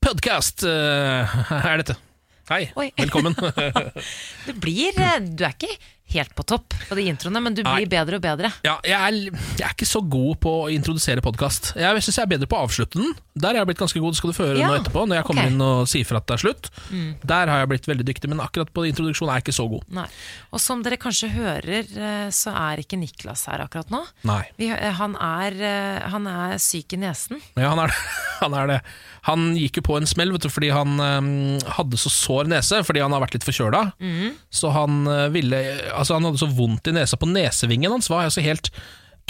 podkast eh, er dette. Hei, Oi. velkommen. Du blir eh, Du er ikke helt på topp på de introene, men du Nei. blir bedre og bedre. ja, jeg, er, jeg er ikke så god på å introdusere podkast. Jeg syns jeg er bedre på å avslutte den. Der er jeg blitt ganske god, skal du få høre Ja, nå etterpå. Når jeg kommer ok. Mm. inn og sier fra at det er slutt. Der har jeg blitt veldig dyktig, men akkurat på introduksjon er jeg ikke så god. Nei. Og som dere kanskje hører, eh, så er ikke Niklas her akkurat nå. Nei. Vi, eh, han, er, eh, han er syk i nesen. Ja, han er, han er det. Han gikk jo på en smell vet du, fordi han øhm, hadde så sår nese, fordi han har vært litt forkjøla. Så han øh, ville Altså, han hadde så vondt i nesa på nesevingen hans, var altså helt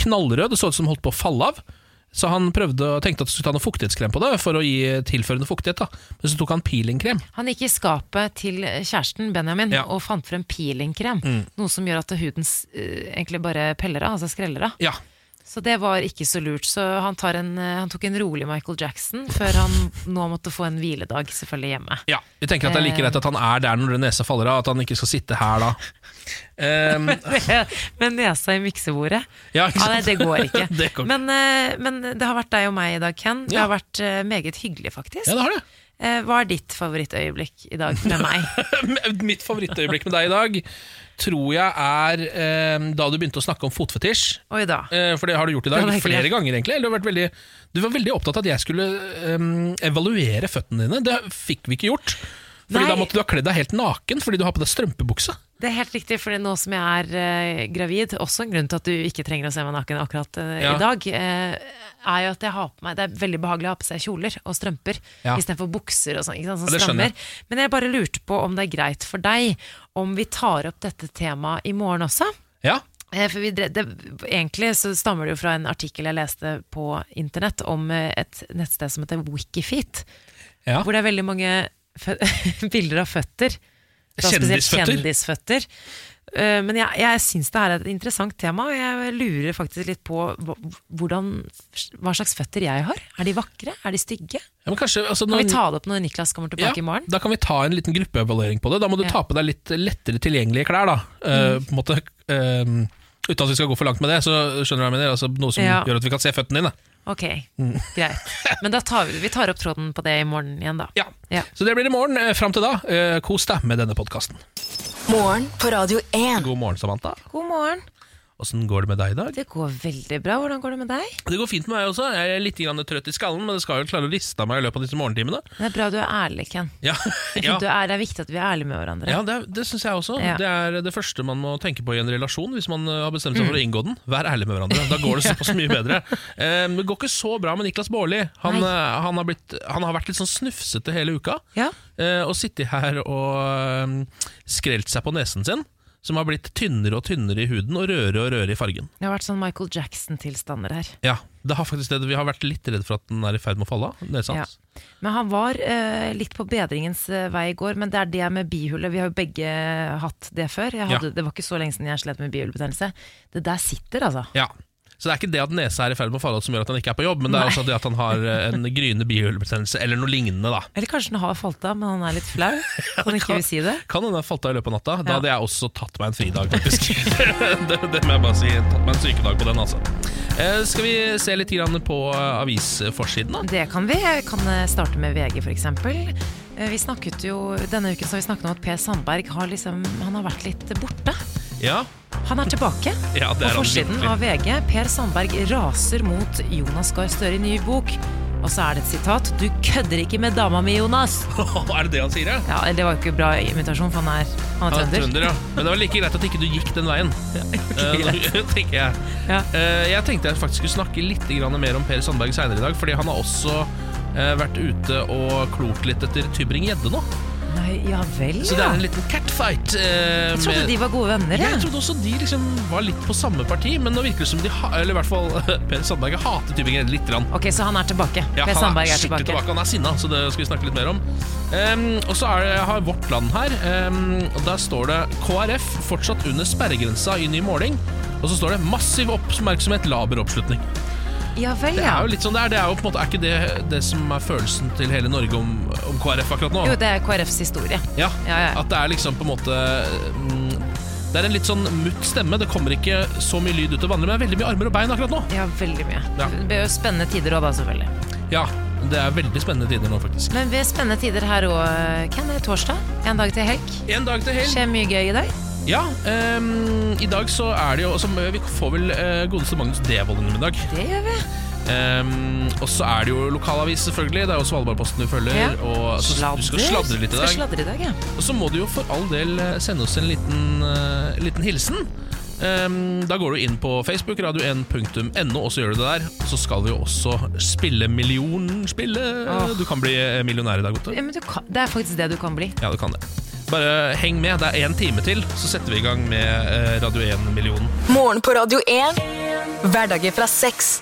knallrød, det så ut som han holdt på å falle av. Så han prøvde og tenkte at han skulle ta noe fuktighetskrem på det, for å gi tilførende fuktighet. da Men så tok han peelingkrem. Han gikk i skapet til kjæresten Benjamin Ja. Mm. og fant frem peelingkrem. Noe som gjør at huden s- eh, egentlig bare peller av, altså skreller av. Ja, Så det var ikke så lurt. Så han, tar en, eh, han tok en rolig Michael Jackson før han nå måtte få en hviledag, selvfølgelig hjemme. Ja, Vi tenker at det er like greit at han er der når nesa faller av, at han ikke skal sitte her da. Ehm, Med nesa i miksebordet. ja, ikke Ja, nei, sant? det går ikke. Det går ikke. Men, eh, men det har vært deg og meg i dag, Ken. Det Ja. har vært eh, meget hyggelig, faktisk. Ja, det har det. Eh, Hva er ditt favorittøyeblikk i dag med meg? Mitt favorittøyeblikk med deg i dag tror jeg er eh, da du begynte å snakke om fotfetisj. Oi da. Eh, for det har du gjort i Ja, dag det er ikke flere det. ganger, egentlig. Eller Du, har vært veldig, du var veldig opptatt av at jeg skulle eh, evaluere føttene dine. Det fikk vi ikke gjort. Fordi Nei. Da måtte du ha kledd deg helt naken fordi du har på deg strømpebukse. Det er helt riktig, for nå som jeg er eh, gravid, også en grunn til at du ikke trenger å se meg naken akkurat eh, Ja. i dag, eh, er jo at jeg har på meg Det er veldig behagelig å ha på seg kjoler og strømper Ja. istedenfor bukser og sånn. Ikke Ja, sant, som det skjønner jeg. strammer. Men jeg bare lurte på om det er greit for deg om vi tar opp dette temaet i morgen også? Ja, Eh, For vi, dre- det, egentlig så stammer det jo fra en artikkel jeg leste på internett om eh, et nettsted som heter Wikifeet, ja. hvor det er veldig mange fø bilder av føtter. da spesielt Kjendisføtter? Kjendisføtter. Eh, Men jeg, jeg syns det her er et interessant tema, og jeg lurer faktisk litt på hva- hvordan, hva slags føtter jeg har. Er de vakre? Er de stygge? ja men kanskje, altså, Kan når- vi ta det opp når Niklas kommer tilbake i morgen? Da kan vi ta en liten gruppeevaluering på det. Da må du Ja. Mm. ta på deg litt lettere tilgjengelige klær. da Eh, på en måte eh, Uten at vi skal gå for langt med det, så skjønner du hva jeg mener. Altså, noe som Ja. gjør at vi kan se føttene dine. Ok, Mm. greit. Men da tar vi, vi tar opp tråden på det i morgen igjen, da. Ja. Ja. Så det blir i morgen. Eh, Fram til da, eh, kos deg med denne podkasten. Morgen på Radio 1. God morgen, Samantha. God morgen. Åssen går det med deg i dag? Det går veldig bra. Hvordan går det med deg? Det går fint med meg også. Jeg er litt grann trøtt i skallen, men det skal jo klare å riste av meg i løpet av disse morgentimene. Det er bra du er ærlig, Ken. Ja, ja. Du er, det er viktig at vi er ærlige med hverandre. ja det, er- det syns jeg også. Ja. Det er det første man må tenke på i en relasjon hvis man eh, har bestemt seg for Mm. å inngå den. Vær ærlig med hverandre. Da går det såpass mye bedre. Eh, men det går ikke så bra med Niklas Baarli. Han, Nei. eh, han, har blitt- han har vært litt sånn snufsete hele uka. Ja. eh, og sittet her og eh, skrelt seg på nesen sin, som har blitt tynnere og tynnere i huden og rødere og rødere i fargen. Det har vært sånn Michael Jackson-tilstander her. Ja, det har faktisk det. Vi har vært litt redd for at den er i ferd med å falle av. Nesa Ja. hans. Men han var eh, litt på bedringens eh, vei i går, men det er det med bihullet. Vi har jo begge hatt det før. Jeg hadde, Ja. Det var ikke så lenge siden jeg slet med bihulebetennelse. Det der sitter, altså. Ja. Så det er ikke det at nesa er i ferd med å falle av som gjør at han ikke er på jobb, men det er Nei. også det at han har eh, en gryende bihulebetennelse eller noe lignende. da. Eller kanskje den har falt av, men han er litt flau. Så han ikke vil si det. Kan hende han falt av i løpet av natta. Da Ja. hadde jeg også tatt meg en fridag, faktisk. det, det må jeg bare si. Tatt meg en sykedag på den, altså. Eh, skal vi se litt grann på eh, avisforsiden, da? Det kan vi. Jeg kan eh, starte med VG, f.eks. Vi snakket jo, Denne uken så har vi snakket om at Per Sandberg har liksom, han har vært litt borte. Ja, Han er tilbake. ja det På er han forsiden virkelig. av VG, Per Sandberg raser mot Jonas Gahr Støre i ny bok. Og så er det et sitat 'Du kødder ikke med dama mi, Jonas'. er det det han sier, ja? Ja, Det var jo ikke bra imitasjon, for han er, Han han er er trønder. trønder, ja. Men det var like greit at ikke du gikk den veien. Eh, tenker jeg. Ja. Eh, jeg tenkte jeg faktisk skulle snakke litt grann mer om Per Sandberg seinere i dag, fordi han har også eh, vært ute og klort litt etter Tybring-Gjedde nå. Nei, ja vel, Så det ja. er en liten catfight. eh, Jeg trodde med- de var gode venner, jeg jeg. trodde også de liksom var litt på samme parti, men nå virker det som de ha Eller i hvert fall Per Sandberg hater Tybring-Gjedde litt. Grann. Ok, så han er tilbake. Ja, per han Sandberg er er skikkelig tilbake. tilbake. Han er sinna, så det skal vi snakke litt mer om. Ehm, og så er det, har Vårt Land her. ehm, og der står det KrF fortsatt under sperregrensa i ny måling. Og så står det 'massiv oppmerksomhet, laber oppslutning'. Ja vel, Det er ja. jo litt sånn det er. Det er jo på en måte er ikke det, det som er følelsen til hele Norge om, om KrF akkurat nå. Jo, det er KrFs historie. Ja, Ja, ja. At det er liksom på en måte mm, Det er en litt sånn mutt stemme. Det kommer ikke så mye lyd ut til vanlig, men det er veldig mye armer og bein akkurat nå. Ja, veldig mye. Ja. Det blir jo spennende tider òg, da, selvfølgelig. Ja, Det er veldig spennende tider nå, faktisk. Men ved spennende tider her òg, Ken. Det er torsdag. En dag til helg. En dag til helg. Skjer mye gøy i dag. Ja, ehm, I dag så er det jo som, Vi får vel eh, godeste Magnus Devold innom i dag. Det gjør vi. Ehm, og så er det jo lokalavis, selvfølgelig. Det er jo Svalbardposten du følger. Ja. Og så, Altså, du skal sladre litt i Skal dag. sladre i dag, ja. Og så må du jo for all del eh, sende oss en liten, eh, liten hilsen. Ehm, da går du inn på Facebook, radio1.no, og så gjør du det der. Og så skal vi jo også spille millionspille. Åh. Du kan bli eh, millionær i dag, Gotte. ja men du kan, det er faktisk det du kan bli. Ja, du kan det. Bare heng med. Det er én time til, så setter vi i gang med eh, Radio 1-millionen. Morgen på Radio 1. Hverdager fra seks.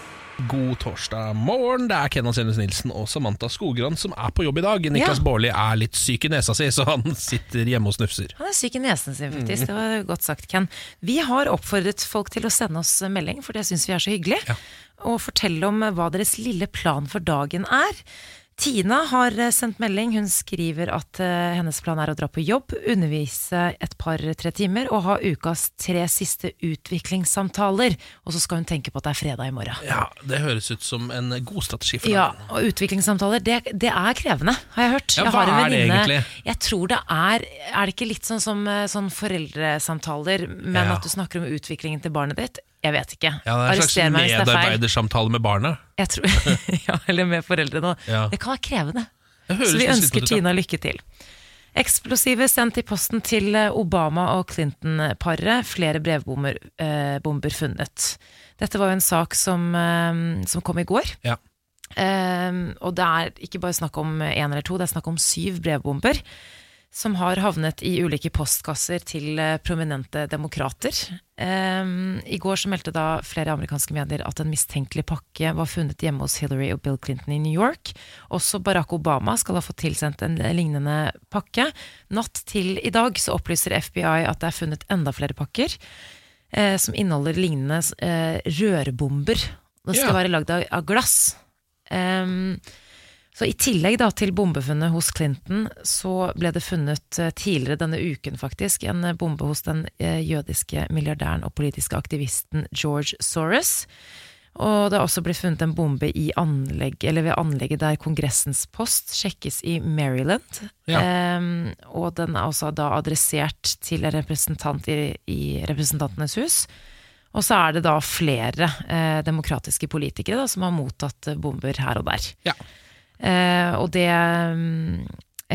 God torsdag morgen. Det er Kenneth Sennes Nilsen og Samantha Skogran som er på jobb i dag. Niklas Baarli er litt syk i nesa si, så han sitter hjemme og snufser. Han er syk i nesen sin, faktisk. Det var godt sagt, Ken. Vi har oppfordret folk til å sende oss melding, for det syns vi er så hyggelig. Ja. Og fortelle om hva deres lille plan for dagen er. Tina har eh, sendt melding. Hun skriver at eh, hennes plan er å dra på jobb, undervise et par-tre timer og ha ukas tre siste utviklingssamtaler. Og så skal hun tenke på at det er fredag i morgen. Ja, Det høres ut som en god strategi for Ja, dagen. og utviklingssamtaler, det, det er krevende, har jeg hørt. Ja, jeg hva har en er det venninne- egentlig? Jeg tror det er Er det ikke litt sånn som eh, sånn foreldresamtaler, men Ja. at du snakker om utviklingen til barnet ditt? Jeg vet ikke. Ja, det er en slags Arrester meg hvis det er feil. medarbeidersamtale med barna. Jeg tror, ja, eller med foreldrene. også. Ja. Det kan være krevende. Det høres Så vi nesten litt ønsker ut, ja. Tina lykke til. Eksplosivet sendt i posten til eh, Obama og Clinton-paret. Flere brevbomber eh, bomber funnet. Dette var jo en sak som, eh, som kom i går. Ja. Ehm, og det er ikke bare snakk om én eller to, det er snakk om syv brevbomber som har havnet i ulike postkasser til eh, prominente demokrater. Ehm, I går så meldte da flere amerikanske medier at en mistenkelig pakke var funnet hjemme hos Hillary og Bill Clinton i New York. Også Barack Obama skal ha fått tilsendt en lignende pakke. Natt til i dag så opplyser FBI at det er funnet enda flere pakker eh, som inneholder lignende eh, rørbomber. Det skal Ja. være lagd av, av glass. Ehm, så I tillegg da til bombefunnet hos Clinton, så ble det funnet eh, tidligere denne uken faktisk en eh, bombe hos den eh, jødiske milliardæren og politiske aktivisten George Soros. Og det har også blitt funnet en bombe i anlegg, eller ved anlegget der Kongressens post sjekkes i Maryland. Ja. Ehm, og den er også da adressert til en representant i, i Representantenes hus. Og så er det da flere eh, demokratiske politikere da, som har mottatt eh, bomber her og der. Ja. Eh, og det mm,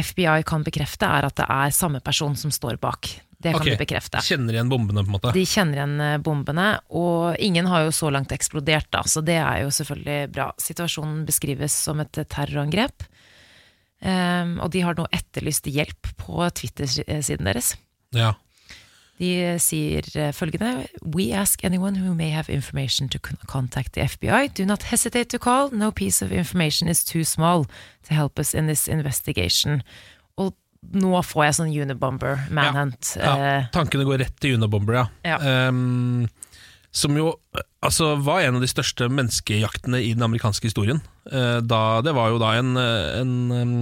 FBI kan bekrefte, er at det er samme person som står bak. Det kan Ok. de bekrefte. Kjenner igjen bombene, på en måte. De kjenner igjen eh, bombene, og ingen har jo så langt eksplodert, da, så det er jo selvfølgelig bra. Situasjonen beskrives som et eh, terrorangrep, Ehm, og de har nå etterlyst hjelp på Twitter-siden deres. Ja. De eh, sier eh, følgende We ask anyone who may have information to con- contact the FBI. Do not hesitate to call. No piece of information is too small to help us in this investigation. Og nå får jeg sånn Unibomber manhunt. ja. eh, Tankene går rett til Unabomber, ja. Ja. Ehm, som jo altså, var en av de største menneskejaktene i den amerikanske historien. Eh, da, det var jo da en, eh, en em,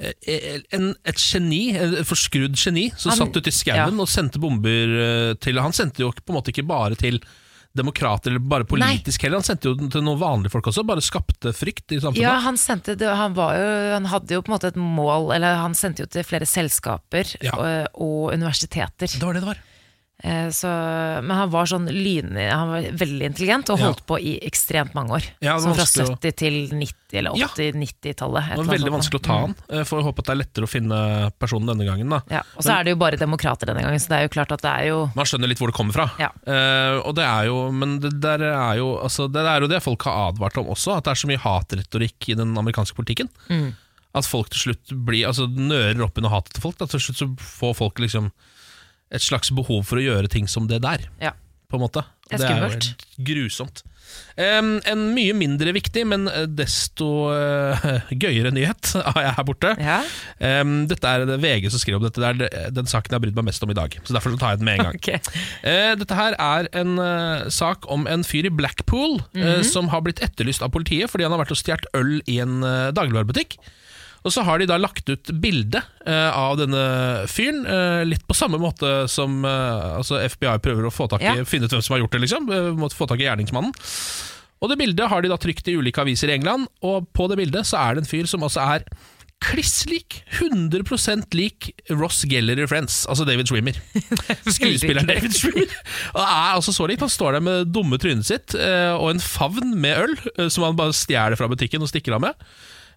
eh, en, et geni, et forskrudd geni, som Han- satt ute i skauen og sendte bomber eh, til Han sendte jo ikke- på en måte ikke bare til demokrater eller bare politisk heller, han sendte jo den til noen vanlige folk også. Bare skapte frykt i samfunnet. Ja, han sendte det, han var jo Han hadde jo på en måte et mål, eller han sendte jo til flere selskaper Ja. og, og universiteter. Det var det det var. Eh, så, men han var sånn lyn... Han var veldig intelligent og Ja. holdt på i ekstremt mange år. Ja, det var sånn fra vanskelig å- 70 til 90 eller Ja. 80-90-tallet. Det var veldig vanskelig Mm. å ta han. eh, Får håpe at det er lettere å finne personen denne gangen. Da. Ja, og så er det jo bare demokrater denne gangen, så det er jo klart at det er jo Man skjønner litt hvor det kommer fra. Ja. Eh, og det er jo, men det der er jo, altså, det er jo det folk har advart om også, at det er så mye hatretorikk i den amerikanske politikken. Mm. At folk til slutt blir, altså nører opp under hatet til folk. Da. Til slutt så får folk liksom et slags behov for å gjøre ting som det der. Ja. På en måte. Og Det er skummelt. jo helt grusomt. Em, en mye mindre viktig, men desto eh, gøyere nyhet har jeg her borte. Ja. Em, dette er det VG som skriver om dette. Det er den saken jeg har brydd meg mest om i dag. Så derfor så tar jeg den med en gang. Ok. Eh, dette her er en eh, sak om en fyr i Blackpool eh, som har blitt etterlyst av politiet fordi han har vært og stjålet øl i en eh, dagligvarebutikk. Og så har de da lagt ut bilde eh, av denne fyren, eh, litt på samme måte som eh, altså FBI prøver å få tak i, Ja. finne ut hvem som har gjort det, liksom. Eh, måtte få tak i gjerningsmannen. Og det bildet har de da trykt i ulike aviser i England, og på det bildet så er det en fyr som altså er kliss lik, 100 lik Ross Geller i Friends, altså David Schwimmer. Skuespilleren David Schwimmer. Og er altså så likt. Han står der med det dumme trynet sitt eh, og en favn med øl, eh, som han bare stjeler fra butikken og stikker av med.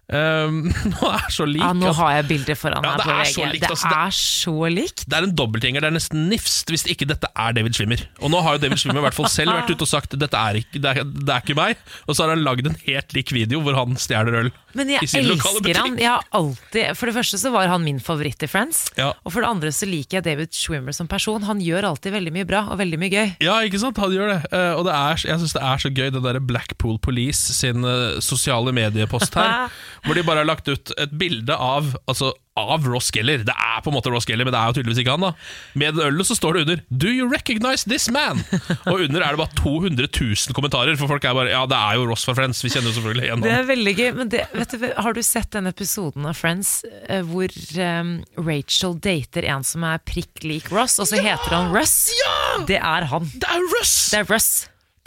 Um, og er så lik. Ja, nå at- har jeg bildet foran Ja, meg det på er VG. så likt, det altså, det- er så likt. Det er en dobbeltgjenger. Det er nesten nifst hvis ikke dette er David Schwimmer. Og nå har jo David Schwimmer i hvert fall selv vært ute og sagt dette er ikke, det, er, det er ikke meg. Og så har han lagd en helt lik video hvor han stjeler øl Men jeg i sin lokale elsker butikk. han. Jeg har alltid, for det første så var han min favoritt i Friends. Ja. Og for det andre så liker jeg David Schwimmer som person. Han gjør alltid veldig mye bra og veldig mye gøy. Ja, ikke sant? Han gjør det. Eh, og det er, jeg syns det er så gøy, det derre Blackpool Police sin eh, sosiale mediepost her. hvor de bare har lagt ut et bilde av Altså av Ross Geller. Det er på en måte Ross Geller, men det er jo tydeligvis ikke han. da Med det ølet så står det under 'Do you recognize this man?' Og under er det bare 200 000 kommentarer, for folk er bare 'Ja, det er jo Ross fra Friends'. Vi kjenner jo selvfølgelig igjen Det han. er veldig gøy, men det, vet du, har du sett den episoden av Friends eh, hvor eh, Rachel dater en som er prikk lik Ross, og så heter han Russ? Det er han. Det er Russ! Det er Russ,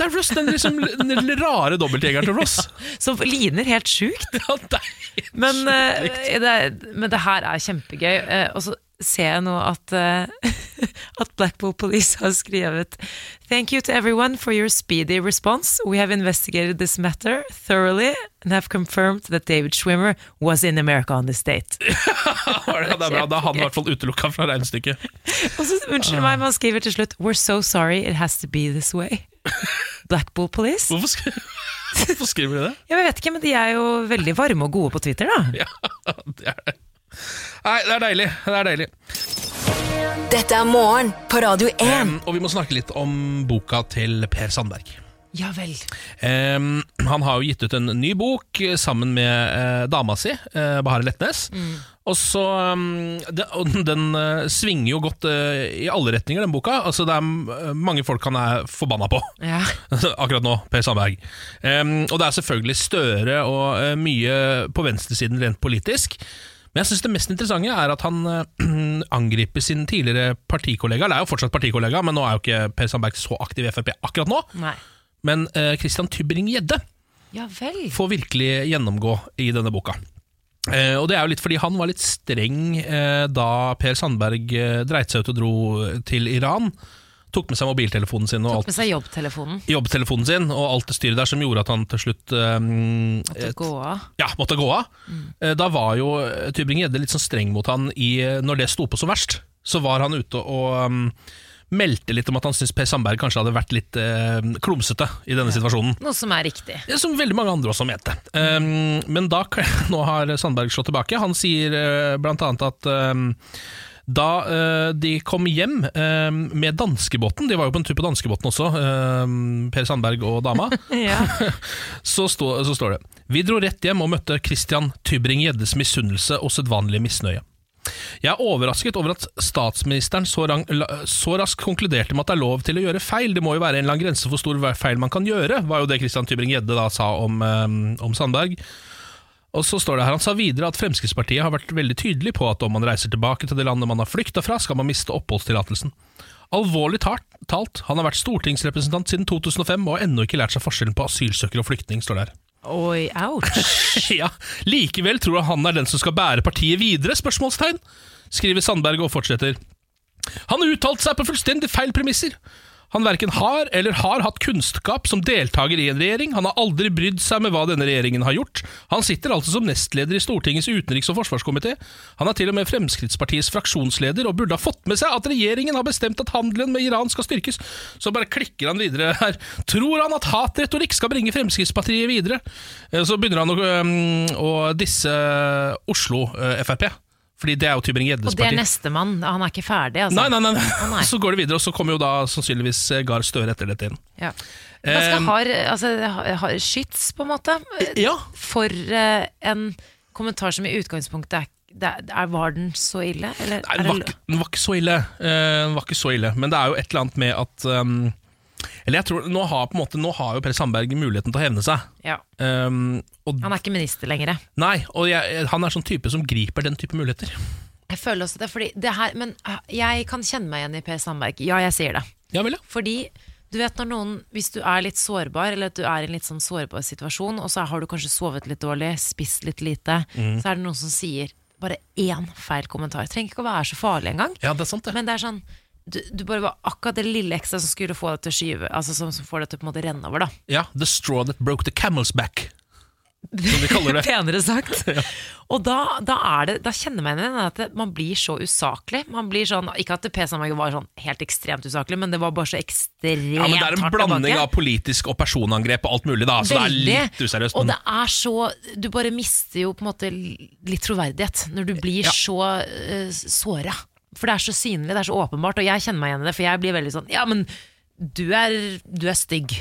Det er Russ, Den liksom den lille rare dobbeltgjengeren til Ross. som ligner helt sjukt. Ja, det er Men, eh, det, er- men det her er kjempegøy. Eh, og så ser jeg nå at, eh, at Blackpool Police har skrevet Thank you to everyone for your speedy response. We have investigated this matter thoroughly and have confirmed that David Schwimmer was in America on this date. Ja, det er bra. Da er han i hvert fall utelukka fra regnestykket. Og så, unnskyld meg, man skriver til slutt We're so sorry it has to be this way. Blackpool Police? Hvorfor, sk Hvorfor skriver de det? Ja, Jeg vet ikke, men de er jo veldig varme og gode på Twitter, da. Ja, det er det. Nei, det er deilig. Det er deilig. Dette er morgen på Radio 1. Um, og vi må snakke litt om boka til Per Sandberg. Ja vel. Um, han har jo gitt ut en ny bok eh, sammen med eh, dama si, eh, Bahareh Letnes. Og så um, det, og den- Den eh, svinger jo godt eh, i alle retninger, den boka. Altså, det er mm, mange folk han er forbanna på. Ja. Akkurat nå, Per Sandberg. Em, og det er selvfølgelig Støre og eh, mye på venstresiden rent politisk. Men jeg synes det mest interessante er at han eh, angriper sin tidligere partikollega. Det er jo fortsatt partikollega, men nå er jo ikke Per Sandberg så aktiv i Frp akkurat nå. Nei. Men eh, Christian Tybring-Gjedde Ja vel. får virkelig gjennomgå i denne boka. Eh, og det er jo litt fordi han var litt streng eh, da Per Sandberg eh, dreit seg ut og dro til Iran. Tok med seg mobiltelefonen sin og alt Tok med seg jobbtelefonen. jobbtelefonen sin og alt det styret der som gjorde at han til slutt ehm, Måtte gå av. ja, måtte gå av. Eh, Da var jo Tybring-Gjedde litt sånn streng mot han i, eh, når det sto på som verst. Så var han ute og ehm, meldte litt om at han syntes Per Sandberg kanskje hadde vært litt ehm, klumsete i denne situasjonen. Noe som er riktig. Det er Som veldig mange andre også mente. Ehm, men da, nå har Sandberg slått tilbake. Han sier eh, blant annet at ehm, da eh, de kom hjem ehm, med danskebåten, de var jo på en tur på danskebåten også, ehm, Per Sandberg og dama, Ja. så, stå, så står det Vi dro rett hjem og møtte Christian Tybring-Gjeddes misunnelse og sedvanlige misnøye. Jeg er overrasket over at statsministeren så, rang, la- så raskt konkluderte med at det er lov til å gjøre feil. Det må jo være en eller annen grense for hvor stor hver feil man kan gjøre, var jo det Christian Tybring-Gjedde da sa om, eh, om Sandberg. Og så står det her, Han sa videre at Fremskrittspartiet har vært veldig tydelig på at om man reiser tilbake til det landet man har flykta fra, skal man miste oppholdstillatelsen. Alvorlig talt, talt, han har vært stortingsrepresentant siden 2005 og har ennå ikke lært seg forskjellen på asylsøker og flyktning, står det her. Oi, ouch. Ja, likevel tror jeg han er den som skal bære partiet videre, spørsmålstegn, skriver Sandberg og fortsetter. Han uttalte seg på fullstendig feil premisser. Han verken har eller har hatt kunnskap som deltaker i en regjering, han har aldri brydd seg med hva denne regjeringen har gjort. Han sitter altså som nestleder i Stortingets utenriks- og forsvarskomité. Han er til og med Fremskrittspartiets fraksjonsleder og burde ha fått med seg at regjeringen har bestemt at handelen med Iran skal styrkes. Så bare klikker han videre her. Tror han at hatretorikk skal bringe Fremskrittspartiet videre? Eh, Så begynner han å, øhm, å disse Oslo eh, Frp, fordi det er jo Tybring-Gjeddes Og det er parti. nestemann. Han er ikke ferdig, altså. Nei, nei, nei. nei. Så går det videre, og så kommer jo da sannsynligvis eh, Gahr Støre etter dette inn. Ja. Ganske hard altså, har skyts, på en måte, Eh, Ja, for eh, en kommentar som i utgangspunktet er, det er Var den så ille? Eller, Nei, er den var, det, ikke- den var ikke så ille. Eh, den var ikke så ille. Men det er jo et eller annet med at um, Eller jeg tror, nå har, på en måte, nå har jo Per Sandberg muligheten til å hevne seg. ja. Um, og, Han er ikke minister lenger. nei, og jeg, han er sånn type som griper den type muligheter. Jeg føler også det, fordi det her, men eh, jeg kan kjenne meg igjen i Per Sandberg. Ja, jeg sier det. Ja vel, ja. Fordi Du vet når noen, Hvis du er litt sårbar, eller at du er i en litt sånn sårbar situasjon, og så har du kanskje sovet litt dårlig, spist litt lite, Mm. så er det noen som sier bare én feil kommentar. Trenger ikke å være så farlig engang. Ja, det er sant, det. Men det er sånn du, du bare var akkurat det lille ekstra som skulle få deg til å skyve Altså som, som får deg til å på en måte renne over, da. Ja, The straw that broke the camel's back. Som de kaller det. Penere sagt. Og da, da, er det, da kjenner man igjen at det- man blir så usaklig. Man blir sånn, ikke at P. Sandberg var sånn helt ekstremt usaklig, men det var bare så ekstremt Ja, men Det er en hardt blanding tilbake. av politisk og personangrep og alt mulig, da. Så det er Veldig. litt useriøst. Og Men det er så Du bare mister jo på en måte litt troverdighet når du blir Ja. så uh, såra. For det er så synlig, det er så åpenbart, og jeg kjenner meg igjen i det. For jeg blir veldig sånn Ja, men du er, du er stygg.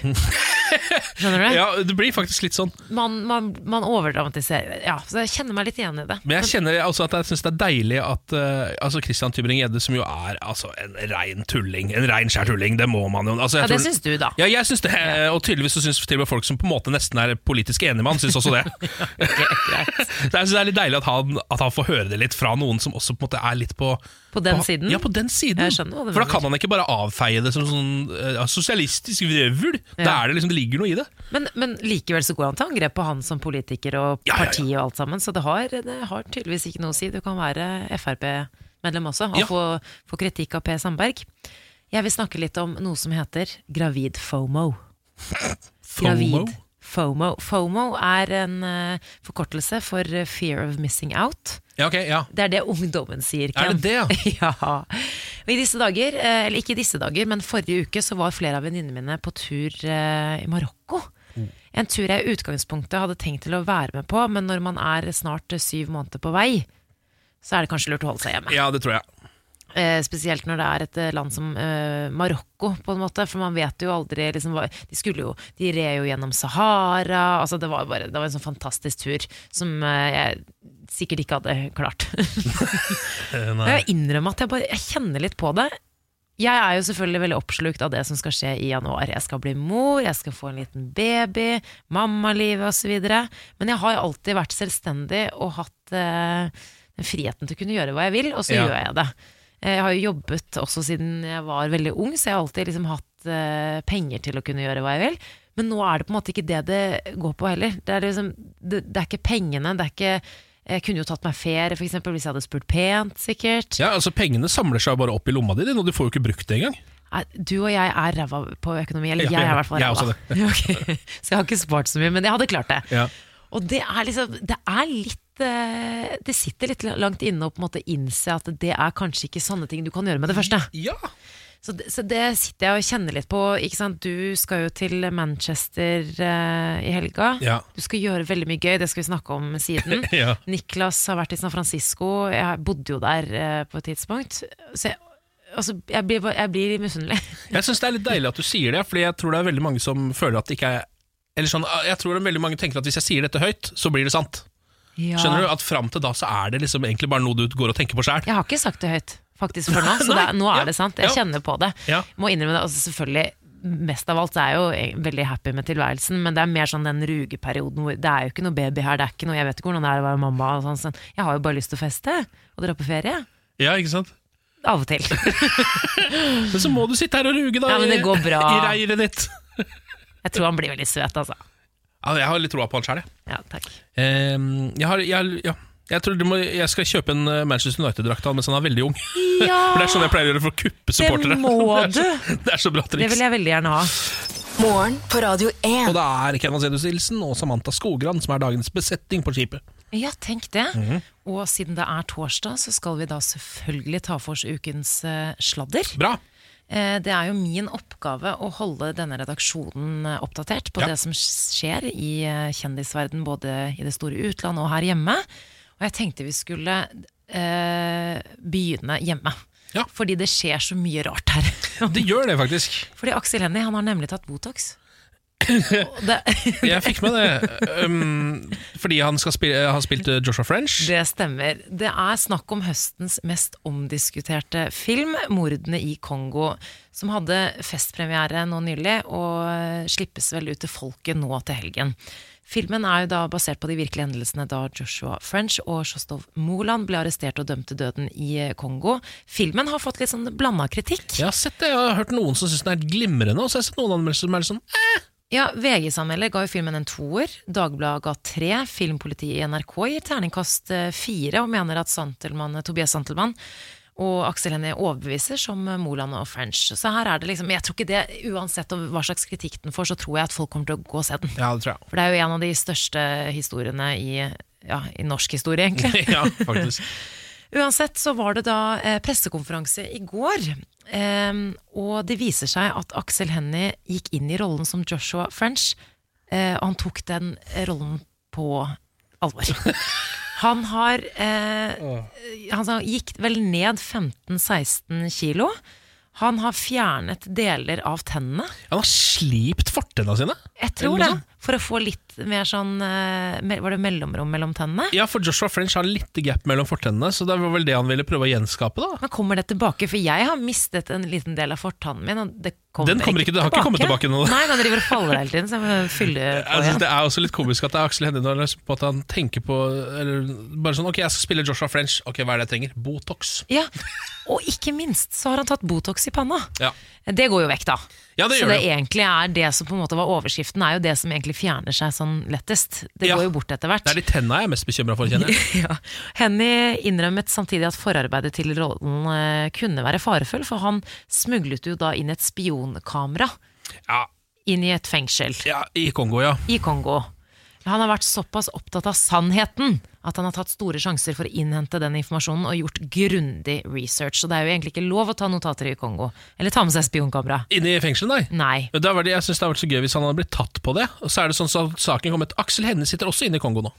Skjønner du? ja, det blir faktisk litt sånn. Man, man, man overdramatiserer. Ja, så jeg kjenner meg litt igjen i det. Men jeg kjenner også at jeg syns det er deilig at eh, altså Christian Tybring-Gjedde, som jo er altså, en rein tulling, en rein skjær tulling, det må man jo altså, Ja, jeg det tror- syns du, da. Ja, jeg syns det, og tydeligvis så syns til og med folk som på en måte nesten er politisk enige med han, syns også det. så jeg syns det er litt deilig at han, at han får høre det litt fra noen som også på en måte er litt på På den siden? Ja, på den siden. Jeg skjønner hva du For da mener. kan han ikke bare avfeie det som sånn eh, sosialistisk vrøvl. Da Ja. er det liksom, det ligger noe i det. Men, men likevel så går han til angrep på han som politiker og Ja, ja, ja. parti og alt sammen, så det har, det har tydeligvis ikke noe å si. Du kan være Frp-medlem også og Ja. få, få kritikk av Per Sandberg. Jeg vil snakke litt om noe som heter gravid FOMO. FOMO? Gravid FOMO. FOMO er en eh, forkortelse for eh, fear of missing out. Ja, ok, ja. Det er det ungdommen sier, Ken. Er det det, ja? ja. Og i disse dager, eh, eller ikke i disse dager, men forrige uke så var flere av venninnene mine på tur eh, i Marokko. Mm. En tur jeg i utgangspunktet hadde tenkt til å være med på, men når man er snart eh, syv måneder på vei, så er det kanskje lurt å holde seg hjemme. Ja, det tror jeg. Eh, spesielt når det er et eh, land som eh, Marokko, på en måte. For man vet jo aldri liksom, hva, De skulle jo De red jo gjennom Sahara. Altså, det, var bare, det var en sånn fantastisk tur som eh, jeg sikkert ikke hadde klart. Eh, Og Nei. Jeg innrømmer at jeg, bare, jeg kjenner litt på det. Jeg er jo selvfølgelig veldig oppslukt av det som skal skje i januar. Jeg skal bli mor, jeg skal få en liten baby, mammalivet osv. Men jeg har alltid vært selvstendig og hatt eh, den friheten til å kunne gjøre hva jeg vil, og så Ja. gjør jeg det. Eh, Jeg har jo jobbet også siden jeg var veldig ung, så jeg har alltid liksom hatt eh, penger til å kunne gjøre hva jeg vil. Men nå er det på en måte ikke det det går på heller. Det er, liksom, det, det er ikke pengene, det er ikke Jeg kunne jo tatt meg ferie, f.eks., hvis jeg hadde spurt pent, sikkert. Ja, altså Pengene samler seg jo bare opp i lomma di, og du får jo ikke brukt det engang. Nei, Du og jeg er ræva på økonomi. Eller Ja, jeg er i ja. hvert fall Jeg er ræva. Ok. Så jeg har ikke spart så mye, men jeg hadde klart det. Ja. Og det er liksom Det er litt eh, Det sitter litt langt inne å på en måte innse at det er kanskje ikke sånne ting du kan gjøre med det første. Ja, Så det, så det sitter jeg og kjenner litt på. Ikke sant? Du skal jo til Manchester eh, i helga. Ja. Du skal gjøre veldig mye gøy, det skal vi snakke om siden. Ja. Niklas har vært i San Francisco, jeg bodde jo der eh, på et tidspunkt. Så jeg, altså, jeg blir, bare- jeg blir misunnelig. Jeg syns det er litt deilig at du sier det, Fordi jeg tror det er veldig mange som føler at det ikke er Eller sånn, jeg tror det er veldig mange tenker at hvis jeg sier dette høyt, så blir det sant. Ja. Skjønner du? At fram til da så er det liksom egentlig bare noe du går og tenker på sjæl. Jeg har ikke sagt det høyt faktisk for nå, så det, Nei, er- nå er ja, det sant. Jeg ja. kjenner på det. Ja. Må innrømme det. Altså, selvfølgelig, mest av alt så er jeg jo e- veldig happy med tilværelsen, men det er mer sånn den rugeperioden hvor det er jo ikke noe baby her, det er ikke noe, jeg vet ikke hvordan det er å være mamma og sånn. sånn. Jeg har jo bare lyst til å feste og dra på ferie. Ja, ikke sant? Av og til. Men så må du sitte her og ruge, da. Ja, men det går bra. I reiret ditt. Jeg tror han blir veldig søt, altså. Ja, jeg har litt troa på han sjæl, jeg. Ja, takk. Ehm, jeg, har, jeg, ja. jeg tror du må, jeg skal kjøpe en eh, Manchester United-drakt av han mens han er veldig ung. For Det Ja, er sånn jeg pleier å gjøre for å kuppe supportere. må Det er så, det er så bra det triks. vil jeg veldig gjerne ha. Morgen på Radio Og 1. det er Kenvas Edus Nilsen og Samantha Skogran som er dagens besetning på skipet. Ja, tenk det. Og siden det er torsdag, så skal vi da selvfølgelig ta for oss ukens eh, sladder. Bra! Eh, Det er jo min oppgave å holde denne redaksjonen eh, oppdatert på Ja. det som skjer i eh, kjendisverden, både i det store utland og her hjemme. Og jeg tenkte vi skulle eh, begynne hjemme. Ja. Fordi det skjer så mye rart her. Det gjør det, faktisk. Fordi Aksel Hennie han har nemlig tatt Botox. Og det, Jeg fikk med det. Um, fordi han skal spille, har spilt eh, Joshua French. det stemmer. Det er snakk om høstens mest omdiskuterte film, 'Mordene i Kongo', som hadde festpremiere nå nylig og eh, slippes vel ut til folket nå til helgen. Filmen er jo da basert på de virkelige hendelsene da Joshua French og Sjostov Moland ble arrestert og dømt til døden i eh, Kongo. Filmen har fått litt sånn blanda kritikk. Jeg har sett det, jeg har hørt noen som syns den er helt glimrende, og så har jeg sett noen anmeldelser som er litt sånn eh, Ja, VG-sammelder ga jo filmen en toer, Dagbladet ga tre, Filmpolitiet i NRK gir terningkast eh, fire og mener at Santelmann, eh, Tobias Santelmann og Aksel Hennie overbeviser som eh, Moland og French. Så her er det liksom, jeg tror ikke det, Uansett om hva slags kritikk den får, så tror jeg at folk kommer til å gå og se den. Ja, det tror For det er jo en av de største historiene i, ja, i norsk historie, egentlig. jeg. ja, faktisk. Uansett så var det da eh, pressekonferanse i går. em, og det viser seg at Aksel Hennie gikk inn i rollen som Joshua French. eh, og han tok den rollen på alvor. Han har eh, Han sa- gikk vel ned 15-16 kilo. Han har fjernet deler av tennene. Han har slipt fortenna sine. Jeg Eller noe tror det. sånt. For å få litt mer sånn eh, me- Var det mellomrom mellom tennene? Ja, for Joshua French har litt gap mellom fortennene, så det var vel det han ville prøve å gjenskape, da. Men kommer det tilbake? For jeg har mistet en liten del av fortannen min. Og det kommer Den kommer ikke- det har ikke kommet tilbake nå. Nei, den driver og faller hele tiden, så jeg må fylle Jeg på synes igjen. det er også litt komisk at det er Aksel Hennie når han liksom på at han tenker på eller bare sånn, Ok, jeg skal spille Joshua French. Ok, Hva er det jeg trenger? Botox. Ja, Og ikke minst så har han tatt Botox i panna. Ja, Det går jo vekk, da. ja det så gjør det det. egentlig er det som på en måte var overskriften, er jo det som egentlig fjerner seg sånn lettest. Det Ja. går jo bort etter hvert. Det er de tenna jeg er mest bekymra for, kjenner jeg. Ja. Henny innrømmet samtidig at forarbeidet til rollen eh, kunne være farefull, for han smuglet jo da inn et spionkamera Ja, inn i et fengsel. ja I Kongo, ja. i Kongo. Han har vært såpass opptatt av sannheten at han har tatt store sjanser for å innhente den informasjonen og gjort grundig research. Så det er jo egentlig ikke lov å ta notater i Kongo. Eller ta med seg spionkamera. Inne i fengselet, nei. Nei. Men da var det, jeg synes det hadde vært så gøy hvis han hadde blitt tatt på det. Og så er det sånn så saken kom et Aksel Hennie sitter også inne i Kongo nå.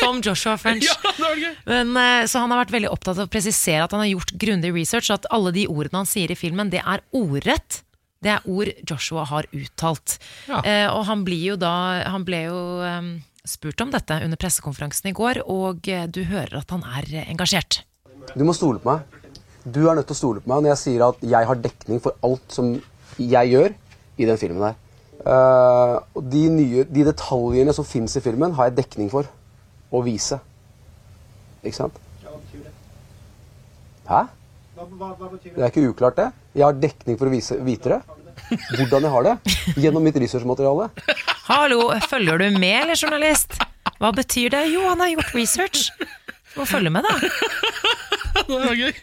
Som Joshua French. Ja, det var gøy Men, eh, så han har vært veldig opptatt av å presisere at han har gjort grundig research, og at alle de ordene han sier i filmen, det er ordrett. Det er ord Joshua har uttalt. Ja. Eh, og han blir jo da Han ble jo eh, spurt om dette under pressekonferansen i går, og eh, du hører at han er eh, engasjert. Du må stole på meg. Du er nødt til å stole på meg når jeg sier at jeg har dekning for alt som jeg gjør i den filmen her. Eh, og de, nye, de detaljene som fins i filmen, har jeg dekning for å vise. Ikke sant? Hva betyr det? Hæ? Hva, hva, hva betyr Det er ikke uklart, det. Jeg har dekning for å vise, vite det. Hvordan jeg har det. Gjennom mitt researchmateriale. Hallo, følger du med, eller journalist? Hva betyr det? Jo, han har gjort research. Må følge med, da. Det var gøy.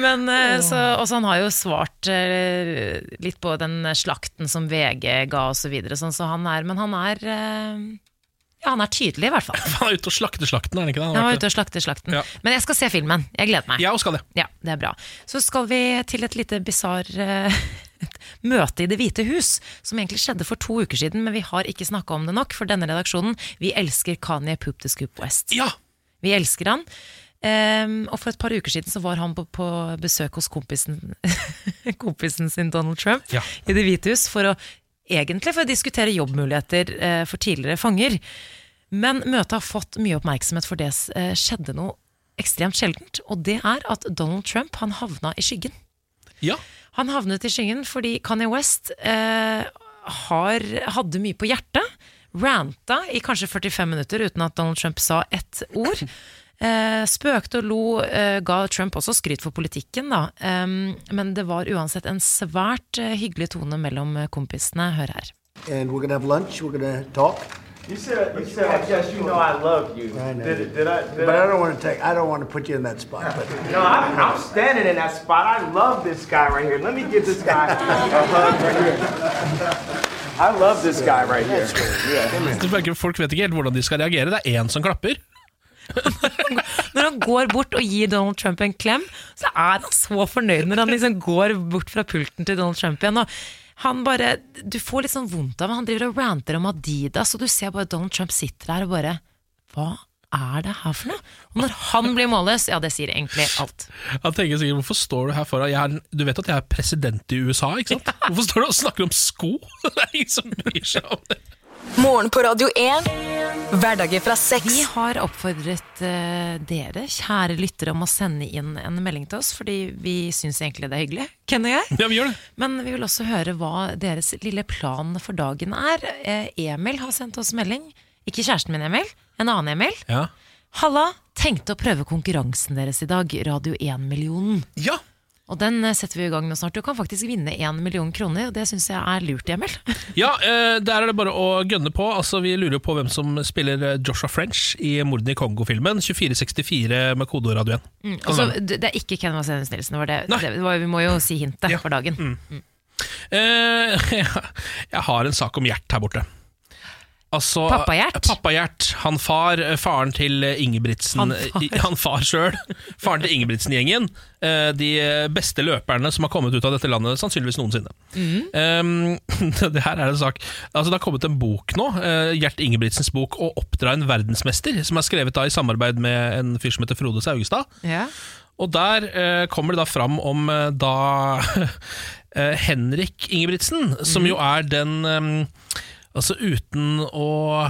Men, eh, så, også han har jo svart eh, litt på den slakten som VG ga osv. Så videre, sånn, så han er, men han er eh, Ja, han er tydelig, i hvert fall. Han er ute og slakter slakten, er han ikke det? Han Han har var vært ute og slakte slakten. Ja. Men jeg skal se filmen. Jeg gleder meg. det. Jeg også skal det. Ja, det er bra. Så skal vi til et lite bisarr eh, møte i Det hvite hus, som egentlig skjedde for to uker siden, men vi har ikke snakka om det nok, for denne redaksjonen, vi elsker Kanye Poop the Scoop West. Ja, Vi elsker han. Ehm, og for et par uker siden så var han på, på besøk hos kompisen, kompisen sin Donald Trump Ja. i Det hvite hus for å, egentlig for å diskutere jobbmuligheter eh, for tidligere fanger. Men møtet har fått mye oppmerksomhet, for det s- eh, skjedde noe ekstremt sjeldent. Og det er at Donald Trump han havna i skyggen. ja. Han havnet i skyggen fordi Kanye West eh, har, hadde mye på hjertet. Ranta i kanskje 45 minutter uten at Donald Trump sa ett ord. Eh, spøkte og lo, eh, ga Trump også skryt for politikken, da. Em, men det var uansett en svært eh, hyggelig tone mellom eh, kompisene. Hør her. and we're gonna have lunch. We're gonna talk, You said you said I guess you know I love you. I know. Did, did I? Did but I I? don't want to take. I don't want to put you in that spot. But No, I'm, I'm standing in that spot. I love this guy right here. Let me give this guy a hug right here. I love this guy right here. Det virker- Folk vet ikke helt hvordan de skal reagere. Det er én som klapper. Når han går bort og gir Donald Trump en klem, så er han så fornøyd når han liksom går bort fra pulten til Donald Trump igjen. Og han bare, Du får litt sånn vondt av ham. Han driver og ranter om Adidas, og du ser bare Donald Trump sitter der og bare Hva er det her for noe? Og når han blir målløs, ja, det sier egentlig alt. Han tenker sikkert 'hvorfor står du her foran jeg er, Du vet at jeg er president i USA, ikke sant? Hvorfor står du og snakker om sko? Det er ingen som bryr seg om det. Morgen på Radio 1. Hverdager fra Vi seks. har oppfordret eh, dere, kjære lyttere, om å sende inn en melding til oss, fordi vi syns egentlig det er hyggelig. Ken og jeg. Ja, vi gjør det. Men vi vil også høre hva deres lille plan for dagen er. Eh, Emil har sendt oss melding. Ikke kjæresten min, Emil. En annen Emil. Ja. Halla, tenkte å prøve konkurransen deres i dag, Radio 1-millionen. ja. Og den eh, setter vi i gang med snart. Du kan faktisk vinne 1 million kroner, og det syns jeg er lurt, Emil. Ja, eh, der er det bare å gønne på. Altså, vi lurer jo på hvem som spiller eh, Joshua French i Mordene i Kongo-filmen. 2464 med kodeord Radio 1. Kan Altså, være. det det er ikke Ken Vasenius Nilsen. det Var det, Nei. det var, vi må jo si hintet Ja. Mm. for dagen. Eh, jeg har en sak om Gjert her borte. Altså, Pappa Gjert? Pappa Gjert, Han far, eh, faren til eh, Ingebrigtsen Han far. i- Han far sjøl. Faren til Ingebrigtsen-gjengen. eh, De beste løperne som har kommet ut av dette landet, sannsynligvis noensinne. Mm. Eh, det her er en sak Altså, Det har kommet en bok nå, eh, Gjert Ingebrigtsens bok 'Å oppdra en verdensmester', som er skrevet da i samarbeid med en fyr som heter Frode Saugestad. Ja. Og der eh, kommer det da fram om eh, da eh, Henrik Ingebrigtsen, Mhm. som jo er den eh, Altså uten å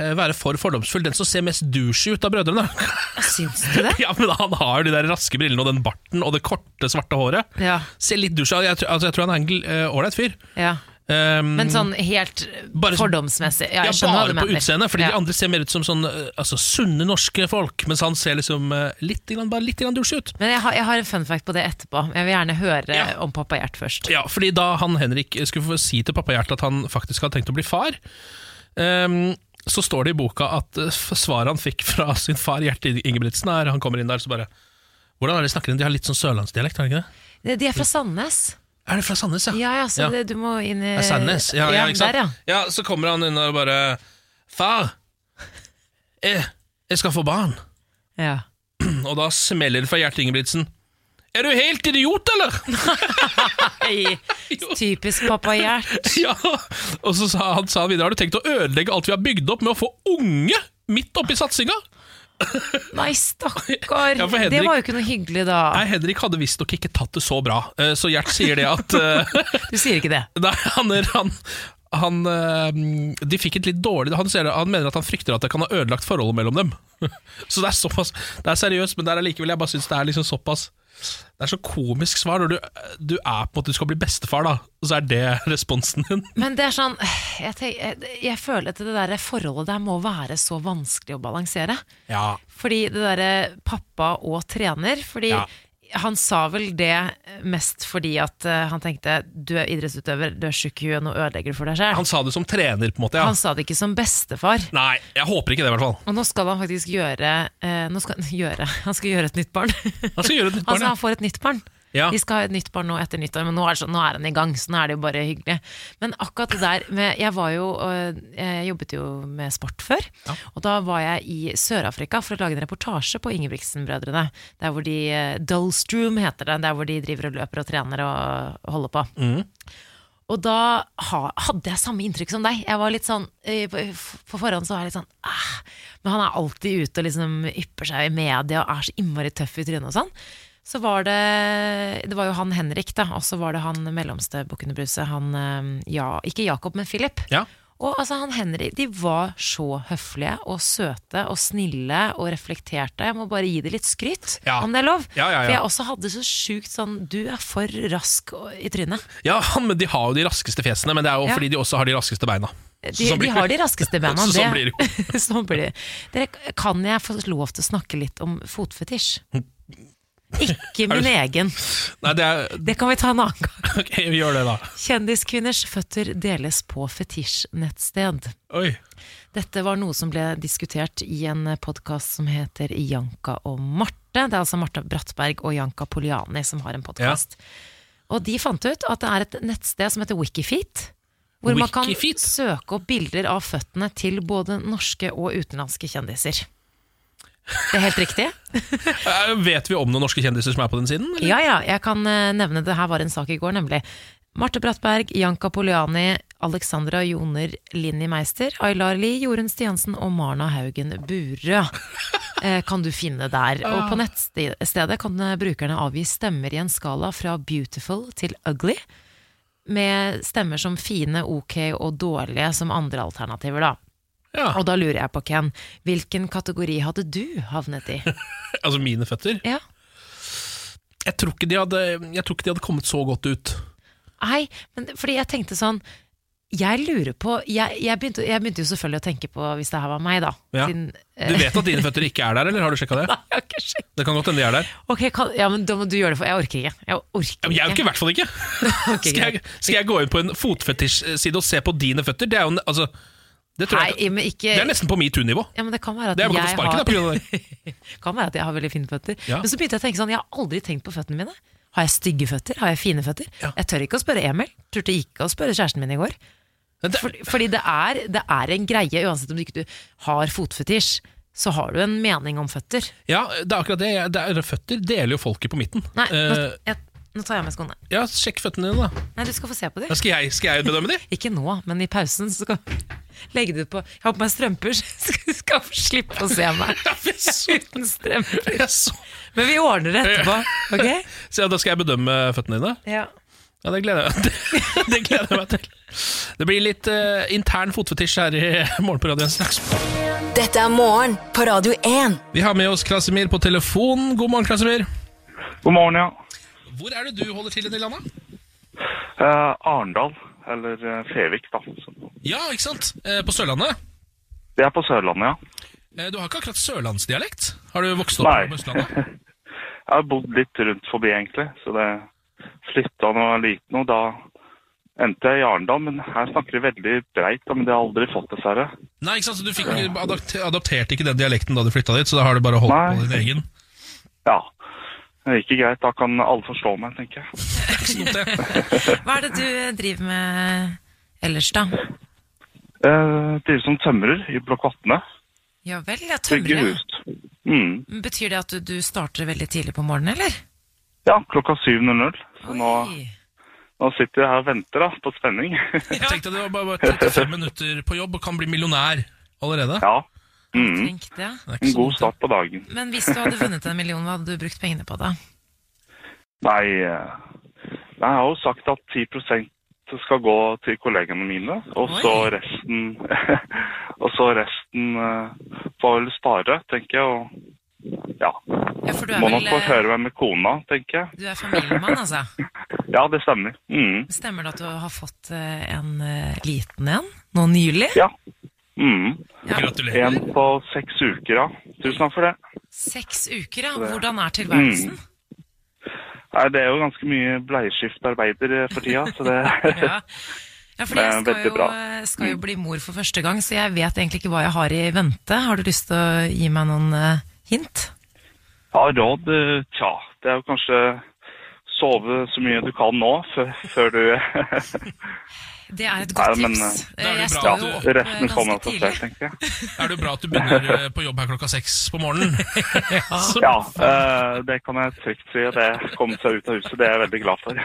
eh, være for fordomsfull, den som ser mest douchey ut av brødrene. Syns du det? ja, men Han har jo de der raske brillene og den barten og det korte, svarte håret. Ja. Ser litt douchey ut. Jeg, tror- altså, jeg tror han er en gl- eh, ålreit fyr. ja. Um, Men sånn helt Bare sånn- fordomsmessig. Ja, ja, jeg skjønner hva bare du på mener. utseendet, fordi ja. de andre ser mer ut som sånn, eh, altså, sunne norske folk, mens han ser liksom eh, litt, grann- bare litt grann douchey ut. Men jeg har, jeg har en fun fact på det etterpå. Jeg vil gjerne høre Ja. om pappa Gjert først. Ja, fordi da han Henrik skulle få si til pappa Gjert at han faktisk hadde tenkt å bli far, ehm, så står det i boka at eh, f- svaret han fikk fra sin far Gjert Ingebrigtsen, er han kommer inn der så bare Hvordan er det de snakker? De har litt sånn sørlandsdialekt, har de ikke det? De de er fra Sandnes. Er det fra Sandnes, ja? Ja, ja, så Ja. Det, du må inn i Det er Sandnes. Ja, ja, ikke sant? Der, ja. ja, så kommer han inn og bare Far, jeg, jeg skal få barn. ja. Og da smeller det fra Gjert Ingebrigtsen. Er du helt idiot, eller? Hei, typisk pappa Gjert. Ja, og så sa han sa han videre Har du tenkt å ødelegge alt vi har bygd opp med å få unge midt oppi satsinga? Nei, stakkar. Ja, for det Henrik- var jo ikke noe hyggelig da. Nei, Henrik hadde visstnok ikke tatt det så bra, Eh, så Gjert sier det at eh, Du sier ikke det. Nei, han, er- han, han eh, De fikk et litt dårlig han, sier det, han mener at han frykter at det kan ha ødelagt forholdet mellom dem. Så det er såpass Det er seriøst, men det er allikevel Jeg bare syns det er liksom såpass Det er så komisk svar når du, du er på en måte Du skal bli bestefar, da, og så er det responsen din. Men det er sånn Jeg, tenk, jeg, jeg føler at det der forholdet der må være så vanskelig å balansere. Ja, Fordi det derre pappa og trener Fordi Ja. han sa vel det eh, mest fordi at eh, han tenkte du er idrettsutøver, du er sjuk i huet, nå ødelegger du for deg sjøl. Han sa det som trener, på en måte. Ja. Han sa det ikke som bestefar. Nei, jeg håper ikke det, i hvert fall. Og nå skal han faktisk gjøre, eh, nå skal, han gjøre Han skal gjøre et nytt barn. Han skal gjøre et nytt Altså, barn, ja. han får et nytt barn. Ja. Vi skal ha et nytt barn nå etter nyttår, men nå er, det sånn, nå er han i gang, så nå er det jo bare hyggelig. Men akkurat det der med, Jeg var jo øh, Jeg jobbet jo med sport før, og da var jeg i Sør-Afrika for å lage en reportasje på Ingebrigtsen-brødrene. Der hvor de eh, Dullstroom heter det, der hvor de driver og løper og trener og holder på. Og da ha, hadde jeg samme inntrykk som deg. Jeg var litt sånn, eh, På på forhånd så var jeg litt sånn ah, Men han er alltid ute og liksom ypper seg i media og er så innmari tøff i trynet og sånn. Så var det Det var jo han Henrik, da. Og så var det han mellomste bukken i bruset. Han eh, ja, Ikke Jakob, men Philip. Ja. Og altså han Henrik, de var så høflige og søte og snille og reflekterte. Jeg må bare gi det litt skryt, Ja. om det er lov. Ja, ja, ja. For jeg også hadde så sjukt sånn Du er for rask og- i trynet. Ja, han, men De har jo de raskeste fjesene, men det er jo Ja. fordi de også har de raskeste beina. Så De, sånn blir de det. har de raskeste bena. Så sånn det- sånn blir det. Dere, kan jeg få lov til å snakke litt om fotfetisj? Ikke min egen. Nei, det er, Det kan vi ta en annen gang. ok, Vi gjør det, da. Kjendiskvinners føtter deles på fetisjnettsted. Oi. Dette var noe som ble diskutert i en podkast som heter Janka og Marte. Det er altså Marte Brattberg og Janka Poliani som har en podkast. Og de fant ut at det er et nettsted som heter Wikifeet. Hvor man kan Wikifeet? søke opp bilder av føttene til både norske og utenlandske kjendiser. Det er helt riktig? Eh, Vet vi om noen norske kjendiser som er på den siden? eller? Ja, ja, jeg kan eh, nevne det her var en sak i går, nemlig. Marte Brattberg, Janka Poliani, Alexandra Joner Linni Meister, Aylar Lie, Jorunn Stiansen og Marna Haugen Burø. eh, Kan du finne der. Og på nettstedet kan eh, brukerne avgi stemmer i en skala fra beautiful til ugly. med stemmer som fine, ok og dårlige som andre alternativer, da. Ja, Og da lurer jeg på, Ken, hvilken kategori hadde du havnet i? altså mine føtter. Ja. Jeg tror ikke de hadde, jeg tror ikke de hadde kommet så godt ut. Nei, men det- fordi jeg tenkte sånn Jeg lurer på Jeg, jeg, begynte, jeg begynte jo selvfølgelig å tenke på hvis det her var meg, da. Ja. Siden, eh, Du vet at dine føtter ikke er der, eller har du sjekka det? jeg har ikke sjekket. Det kan godt hende de er der. Ok, kan, ja, men da må du gjøre det, for jeg orker ikke. Jeg Ja, orker men jeg er jo ikke i ikke. hvert fall ikke. Ok, Skal jeg, skal jeg gå inn på en fotfetisj-side og se på dine føtter? Det er jo en, altså Det tror jeg Nei, men ikke Det er nesten på metoo-nivå. ja, men det kan være at Det er vel godt å jeg sparke har deg på grunn av det. kan være at jeg har veldig fine føtter. Ja. Men så begynte jeg å tenke sånn, jeg har aldri tenkt på føttene mine. Har jeg stygge føtter? Har jeg fine føtter? Ja. Jeg tør ikke å spørre Emil. Turte ikke å spørre kjæresten min i går. Men det- Fordi, fordi det, er, det er en greie, uansett om du ikke du har fotfetisj, så har du en mening om føtter. Ja, det er akkurat det. Jeg- det er, føtter deler jo folket på midten. Nei, nå, Eh, jeg, nå tar jeg av meg skoene. ja, Sjekk føttene dine, da. Nei, du skal få se på Ja, dem. Skal jeg, skal jeg bedømme de? Ikke nå, men i pausen så skal legge det på. Jeg har på meg strømper, så du skal få slippe å se meg Jeg uten strømper. er så- Men vi ordner det etterpå, ok? Så ja, da skal jeg bedømme føttene dine? Ja. Ja, det gleder jeg meg til. Det gleder jeg meg til. Det blir litt eh, intern fotfetisj her i Morgen på Radio 1 straks. Dette er morgen på Radio 1. Vi har med oss Krasimir på telefon. God morgen, Krasimir. God morgen, ja. Hvor er det du holder til i det landet? Eh, Arendal, eller eh, Fevik, da. Så- Ja, ikke sant? Eh, På Sørlandet? Det er på Sørlandet, ja. Eh, Du har ikke akkurat sørlandsdialekt? Har du vokst opp Nei. på Østlandet? Jeg har bodd litt rundt forbi, egentlig. Så det flytta da jeg var liten, og da endte jeg i Arendal. Men her snakker de veldig breit, da, men det har jeg aldri fått, dessverre. Nei, ikke sant? Så du fikk, adapt, adapterte ikke den dialekten da du flytta dit, så da har du bare holdt Nei. på din egen? Ja. Det gikk greit, da kan alle forstå meg, tenker jeg. Det er ikke så dumt, det. Hva er det du eh, driver med ellers, da? Eh, Driver som tømrer i Blokk 18. Ja vel, jeg Bygger tømrer. hus. Mm. Betyr det at du, du starter veldig tidlig på morgenen, eller? Ja, klokka 7.00. Så nå, Oi. nå sitter jeg her og venter, da, på spenning. Tenk deg det var bare 35 minutter på jobb og kan bli millionær allerede. ja. Mm. Tenk det. Det er ikke En så god Sånn. dumt, det. start på dagen. Men hvis du hadde vunnet en million, hva hadde du brukt pengene på da? Nei, eh, jeg har jo sagt at 10 skal gå til kollegene mine, og så Oi. resten Og så resten eh, får vel spare, tenker jeg. Og ja. Ja, for du er Må nok vel få eh, høre meg med kona, tenker jeg. Du er familiemann, altså. Ja, det stemmer. Mm. Stemmer det at du har fått eh, en eh, liten en nå nylig? Ja. Mm. En Gratulerer. på seks uker, ja. Tusen takk for det. Seks uker, ja. Hvordan er tilværelsen? Mm. Nei, det er jo ganske mye bleieskiftarbeid for tida, så det Ja. Ja, fordi Det er jeg skal veldig jo, eh, bra. skal jo bli mor for første gang, så jeg vet egentlig ikke hva jeg har i vente. Har du lyst til å gi meg noen eh, hint? Ja, råd, eh, tja, det er jo kanskje sove så mye du kan nå, før, før du Det er et godt Nei, men, tips. eh, da er det Jeg bra står at jo du- opp eh, Resten kommer ganske av seg selv, tidlig. tenker jeg. Er det bra at du begynner eh, på jobb her klokka seks på morgenen? Så- Ja, eh, det kan jeg trygt si. og Det kommer seg ut av huset, det er jeg veldig glad for.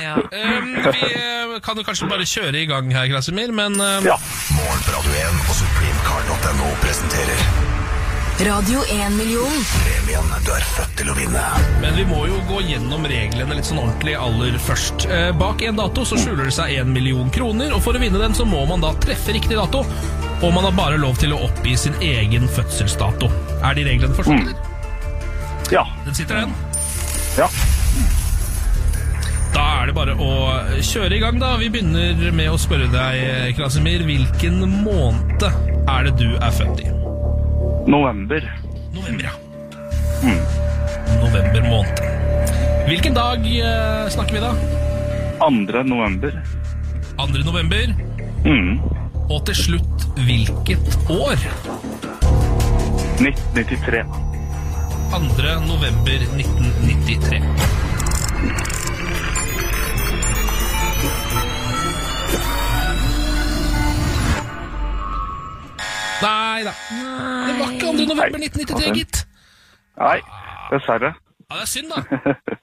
Ja. Um, vi eh, kan jo kanskje bare kjøre i gang her, Krasimir, men eh, Ja. Morgen på Radio 1 og supremecard.no presenterer Radio 1-million. premien du er født til å vinne. Men vi må jo gå gjennom reglene litt sånn ordentlig aller først. Eh, Bak en dato så skjuler det seg en million kroner, og for å vinne den så må man da treffe riktig dato. Og man har bare lov til å oppgi sin egen fødselsdato. Er de reglene forstått, Mm. eller? Ja. Den sitter, den. ja. Da er det bare å kjøre i gang, da. Vi begynner med å spørre deg, Krasimir, hvilken måned er det du er født i? November. November, ja. November måned. Hvilken dag eh, snakker vi da? 2. november. 2. november. Mm. Og til slutt, hvilket år? 1993. 2. november 1993. Nei da. Det var ikke 2. november 1993, gitt. Nei, dessverre. Ja, Det er synd, da.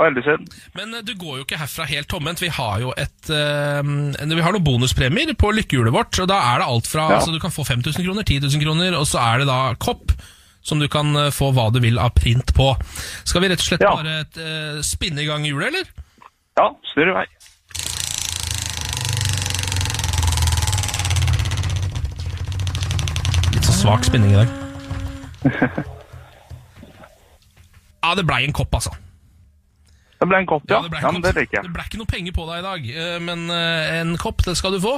Veldig synd. Men eh, du går jo ikke herfra helt tomhendt. Vi har jo et eh, Vi har noen bonuspremier på lykkehjulet vårt. Og da er det alt fra Ja. altså, Du kan få 5000 kroner, 10 000 kroner, og så er det da kopp. Som du kan eh, få hva du vil av print på. Skal vi rett og slett Ja. bare eh, spinne i gang hjulet, eller? Ja, snurr i vei. svak spinning i dag. Ja, det blei en kopp, altså. Det ble en kopp, ja. ble en ja men det kopp. liker Det jeg. ble ikke noe penger på deg i dag, eh, men eh, en kopp, det skal du få.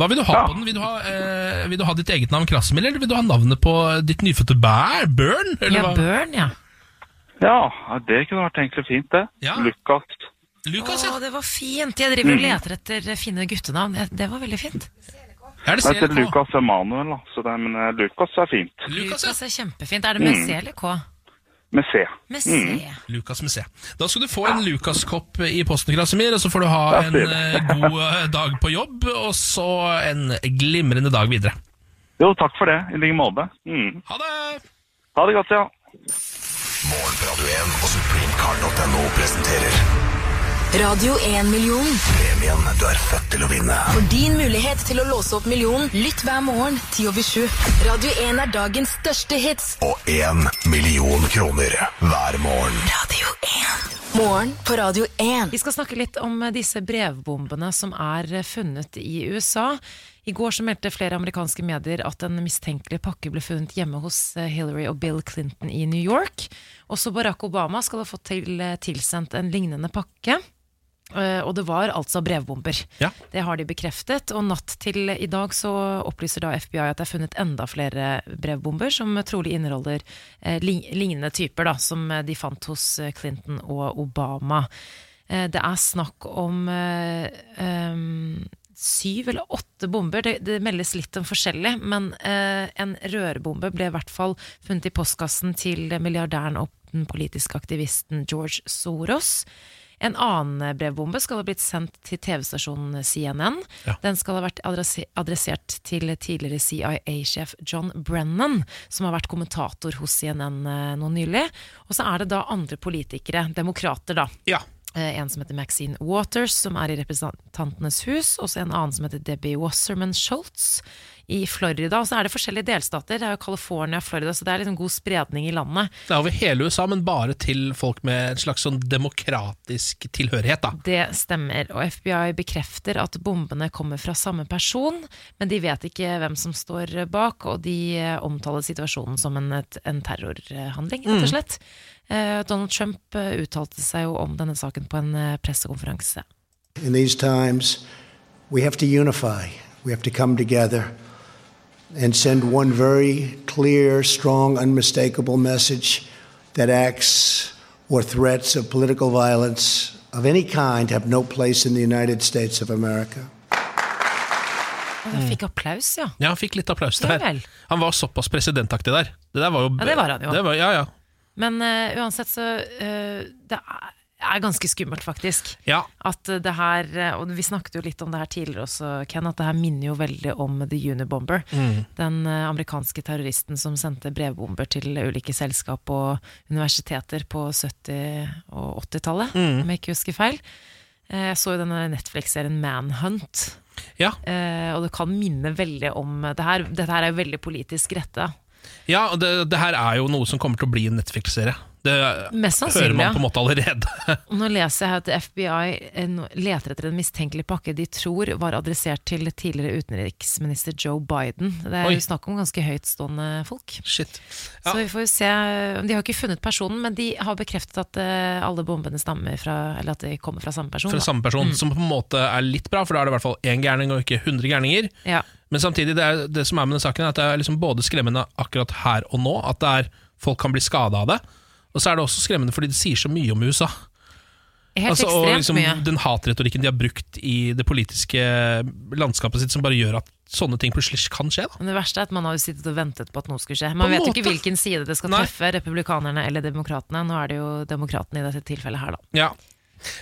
Hva vil du ha Ja. på den? Vil du ha, eh, vil du ha ditt eget navn, Krasmil, eller vil du ha navnet på ditt nyfødte bær, Børn? Eller Ja, hva? Børn, ja. Ja, det kunne vært egentlig fint, det. Ja. Lukas. Lukas, ja. Å, det var fint! Jeg Mm. driver og leter etter eh, fine guttenavn. Det- Det var veldig fint. Er det Jeg heter CLK? Lukas Emanuel, da. Så det, men eh, Lukas er fint. Lukas, ja. Lukas er kjempefint. Er det Mm. med C eller K? Med C. Mm. Med C. Lukas med C. Da skal du få en Lukas-kopp i posten, Krasimir, og så får du ha Takk, en Phil. eh, god eh, dag på jobb, og så en glimrende dag videre. Jo, takk for det. I like måte. Mm. Ha det! Ha det godt, ja. Morgen på Radio 1 og supremecard.no presenterer Radio 1-million. premien du er født til å vinne. For din mulighet til å låse opp millionen, lytt hver morgen 10 over 7. Radio 1 er dagens største hits. Og én million kroner hver morgen. Radio 1. Morgen på Radio 1. Vi skal snakke litt om eh, disse brevbombene som er eh, funnet i USA. I går så meldte flere amerikanske medier at en mistenkelig pakke ble funnet hjemme hos eh, Hillary og Bill Clinton i New York. Også Barack Obama skal ha fått til, eh, tilsendt en lignende pakke. Eh, Og det var altså brevbomber. Ja. Det har de bekreftet. Og natt til i dag så opplyser da FBI at det er funnet enda flere brevbomber, som trolig inneholder eh, li- lignende typer da, som eh, de fant hos eh, Clinton og Obama. Eh, det er snakk om eh, em, syv eller åtte bomber. Det, det meldes litt om forskjellig, men eh, en rørbombe ble i hvert fall funnet i postkassen til milliardæren og den politiske aktivisten George Soros. En annen eh, brevbombe skal ha blitt sendt til TV-stasjonen CNN. Ja. Den skal ha vært adresse- adressert til tidligere CIA-sjef John Brennan, som har vært kommentator hos CNN eh, nå nylig. Og så er det da andre politikere, demokrater da, Ja. Eh, En som heter Maxine Waters, som er i Representantenes hus. Og så en annen som heter Debbie Wasserman Schultz i Florida. Og så er det forskjellige delstater. Det er jo California og Florida, så det er liksom god spredning i landet. Det er over hele USA, men bare til folk med en slags sånn demokratisk tilhørighet, da. Det stemmer. Og FBI bekrefter at bombene kommer fra samme person, men de vet ikke hvem som står bak, og de eh, omtaler situasjonen som en, et- en terrorhandling, rett og slett. Eh, Donald Trump eh, uttalte seg jo om denne saken på en eh, pressekonferanse. In these times, we have to unify, we have to come together and send one very clear, strong, unmistakable message that acts or threats of political violence of any kind have no place in the United States of America. Og da fikk applaus, ja. Ja, han fikk litt applaus Ja der. vel. han var såpass presidentaktig der. Det der var jo Ja, det var han jo. Det var, ja, ja. Men eh, uansett så eh, Det er, er ganske skummelt, faktisk. Ja. At eh, det her eh, Og vi snakket jo litt om det her tidligere også, Ken, at det her minner jo veldig om The Unibomber. Den eh, amerikanske terroristen som sendte brevbomber til ulike selskap og universiteter på 70- og 80-tallet, om jeg ikke husker feil. Eh, Jeg så jo denne Netflix-serien Manhunt. Ja. eh, og det kan minne veldig om det her. Dette her er jo veldig politisk rette. ja, og det, det her er jo noe som kommer til å bli en Netflix-serie. Det Mest hører sannsynlig. ja. man på en måte allerede. Og Nå leser jeg at FBI eh, nå leter etter en mistenkelig pakke de tror var adressert til tidligere utenriksminister Joe Biden. Det er Oi. jo snakk om ganske høytstående folk. Shit. Ja. Så vi får jo se. eh, De har ikke funnet personen, men de har bekreftet at eh, alle bombene stammer fra, eller at de kommer fra samme person. Fra da. samme person, som på en måte er litt bra, for da er det i hvert fall én gærning og ikke 100 gærninger. Ja. Men samtidig, det, er, det som er med den saken, er at det er liksom både skremmende akkurat her og nå, at det er, folk kan bli skada av det, og så er det også skremmende fordi det sier så mye om USA. Helt Altså, og ekstremt liksom, mye. Den hatretorikken de har brukt i det politiske landskapet sitt, som bare gjør at sånne ting plutselig kan skje. Da. Men det verste er at man har jo sittet og ventet på at noe skulle skje. Man en vet jo ikke måte. hvilken side det skal Nei. treffe, republikanerne eller demokratene. Nå er det jo demokratene i dette tilfellet her, da. Ja.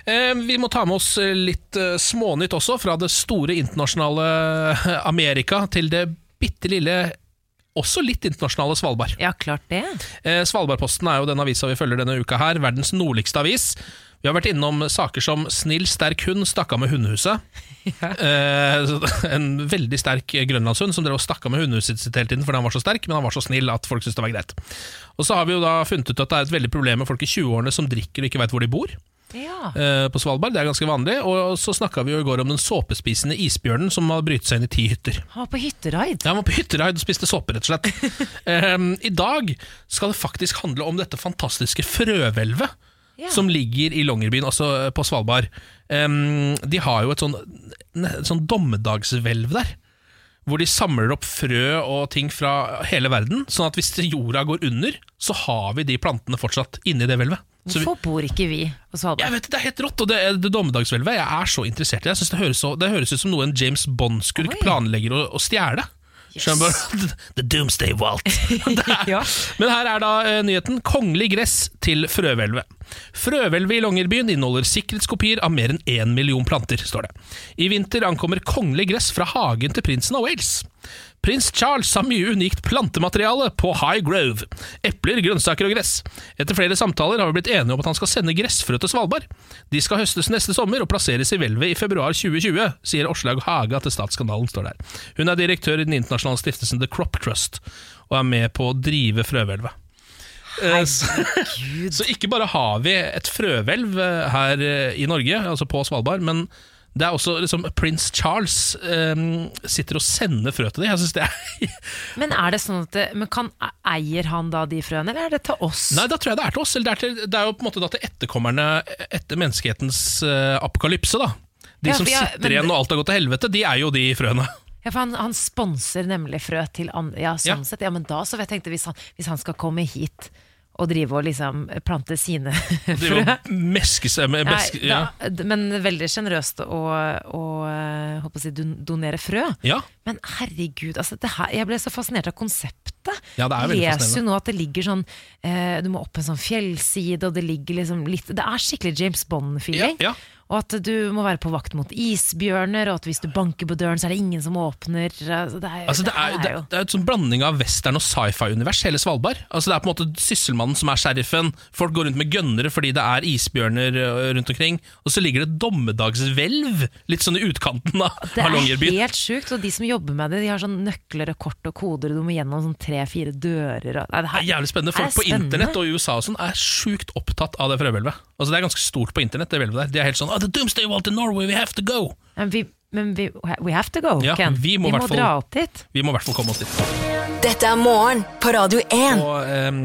Eh, vi må ta med oss litt eh, smånytt også, fra det store internasjonale eh, Amerika til det bitte lille, også litt internasjonale Svalbard. Ja, klart det. Eh, Svalbardposten er jo den avisa vi følger denne uka her, verdens nordligste avis. Vi har vært innom saker som 'Snill, sterk hund stakk av med hundehuset'. Eh, så- en veldig sterk grønlandshund som drev og stakk av med hundehuset sitt hele tiden fordi han var så sterk, men han var så snill at folk syntes det var greit. Og så har vi jo da funnet ut at det er et veldig problem med folk i 20-årene som drikker og ikke veit hvor de bor. Ja. eh, på Svalbard. Det er ganske vanlig. Og så snakka vi jo i går om den såpespisende isbjørnen som har brytet seg inn i ti hytter. Han var på hytteraid. Ja, Han var på hytteraid og spiste såpe, rett og slett. Em, I dag skal det faktisk handle om dette fantastiske frøhvelvet Ja. som ligger i Longyearbyen, altså på Svalbard. Em, de har jo et sånn, ne- sånn dommedagsvelv der. Hvor de samler opp frø og ting fra hele verden. Sånn at hvis jorda går under, så har vi de plantene fortsatt inni det hvelvet. Så vi, Hvorfor bor ikke vi på Svalbard? jeg vet, Det er helt rått, og det, det dommedagshvelvet Jeg er så interessert i det. Jeg synes det, høres så, det høres ut som noe en James Bond-skurk Oi. planlegger å, å stjele. Skjønner du bare, The Doomsday Walt. Det er- Ja. Men her er da eh, nyheten. Kongelig gress til frøhvelvet. Frøhvelvet i Longyearbyen inneholder sikkerhetskopier av mer enn én million planter, står det. I vinter ankommer kongelig gress fra hagen til prinsen av Wales. Prins Charles har mye unikt plantemateriale på High Grove. Epler, grønnsaker og gress. Etter flere samtaler har vi blitt enige om at han skal sende gressfrø til Svalbard. De skal høstes neste sommer og plasseres i hvelvet i februar 2020, sier Åslaug Haga til Statskanalen, står det her. Hun er direktør i den internasjonale stiftelsen The Crop Trust, og er med på å drive frøhvelvet. Eh, Så, så ikke bare har vi et frøhvelv eh, her eh, i Norge, altså på Svalbard, men det er også liksom prins Charles eh, sitter og sender frø til dem. Jeg synes det er Men er det sånn at det, men kan, eier han da de frøene, eller er det til oss? Nei, da tror jeg det er til oss. Eller det, er til, det er jo på en måte da til etterkommerne etter menneskehetens eh, apokalypse, da. De Ja, som for jeg- sitter men- igjen når alt har gått til helvete, de er jo de frøene. Ja, for han, han sponser nemlig frø til andre. Ja, sånn Ja. sett. Ja, men da så jeg tenkte hvis han, hvis han skal komme hit og drive og liksom plante sine De vil frø meske seg med meske, Nei, ja. da, d- Men veldig sjenerøst å, å eh, håper å si, don- donere frø. ja. Men herregud, altså det her, jeg ble så fascinert av konseptet. Ja, det er veldig Leser jo fascinerende. nå at det ligger sånn eh, Du må opp en sånn fjellside, og det ligger liksom litt Det er skikkelig James Bond-feeling. Ja, ja. Og at du må være på vakt mot isbjørner, og at hvis du banker på døren, så er det ingen som åpner. Altså, det er, Altså, det, er, det, det er et sånn blanding av western og sci-fi-univers, hele Svalbard. Altså, det er på en måte sysselmannen som er sheriffen, folk går rundt med gønnere fordi det er isbjørner ø, rundt omkring, og så ligger det et dommedagsvelv litt sånn i utkanten av, det av er Longyearbyen. helt sjukt, og de som jobber med det, de har sånn nøkler og kort og koder, og du må gjennom sånn tre-fire dører og Nei, det Det er jævlig spennende. Folk er på spennende. internett og i USA og sånn er sjukt opptatt av det frøhvelvet. Altså, det er ganske stort på internett, det hvelvet der. De er helt sånn oh, The Doomsday Wall to Norway, we have to go! Men vi, men vi we have to go, Ja, Ken. vi må hvertfall- dra opp dit. Vi må i hvert fall komme oss dit. Dette er morgen på Radio 1. Og ehm,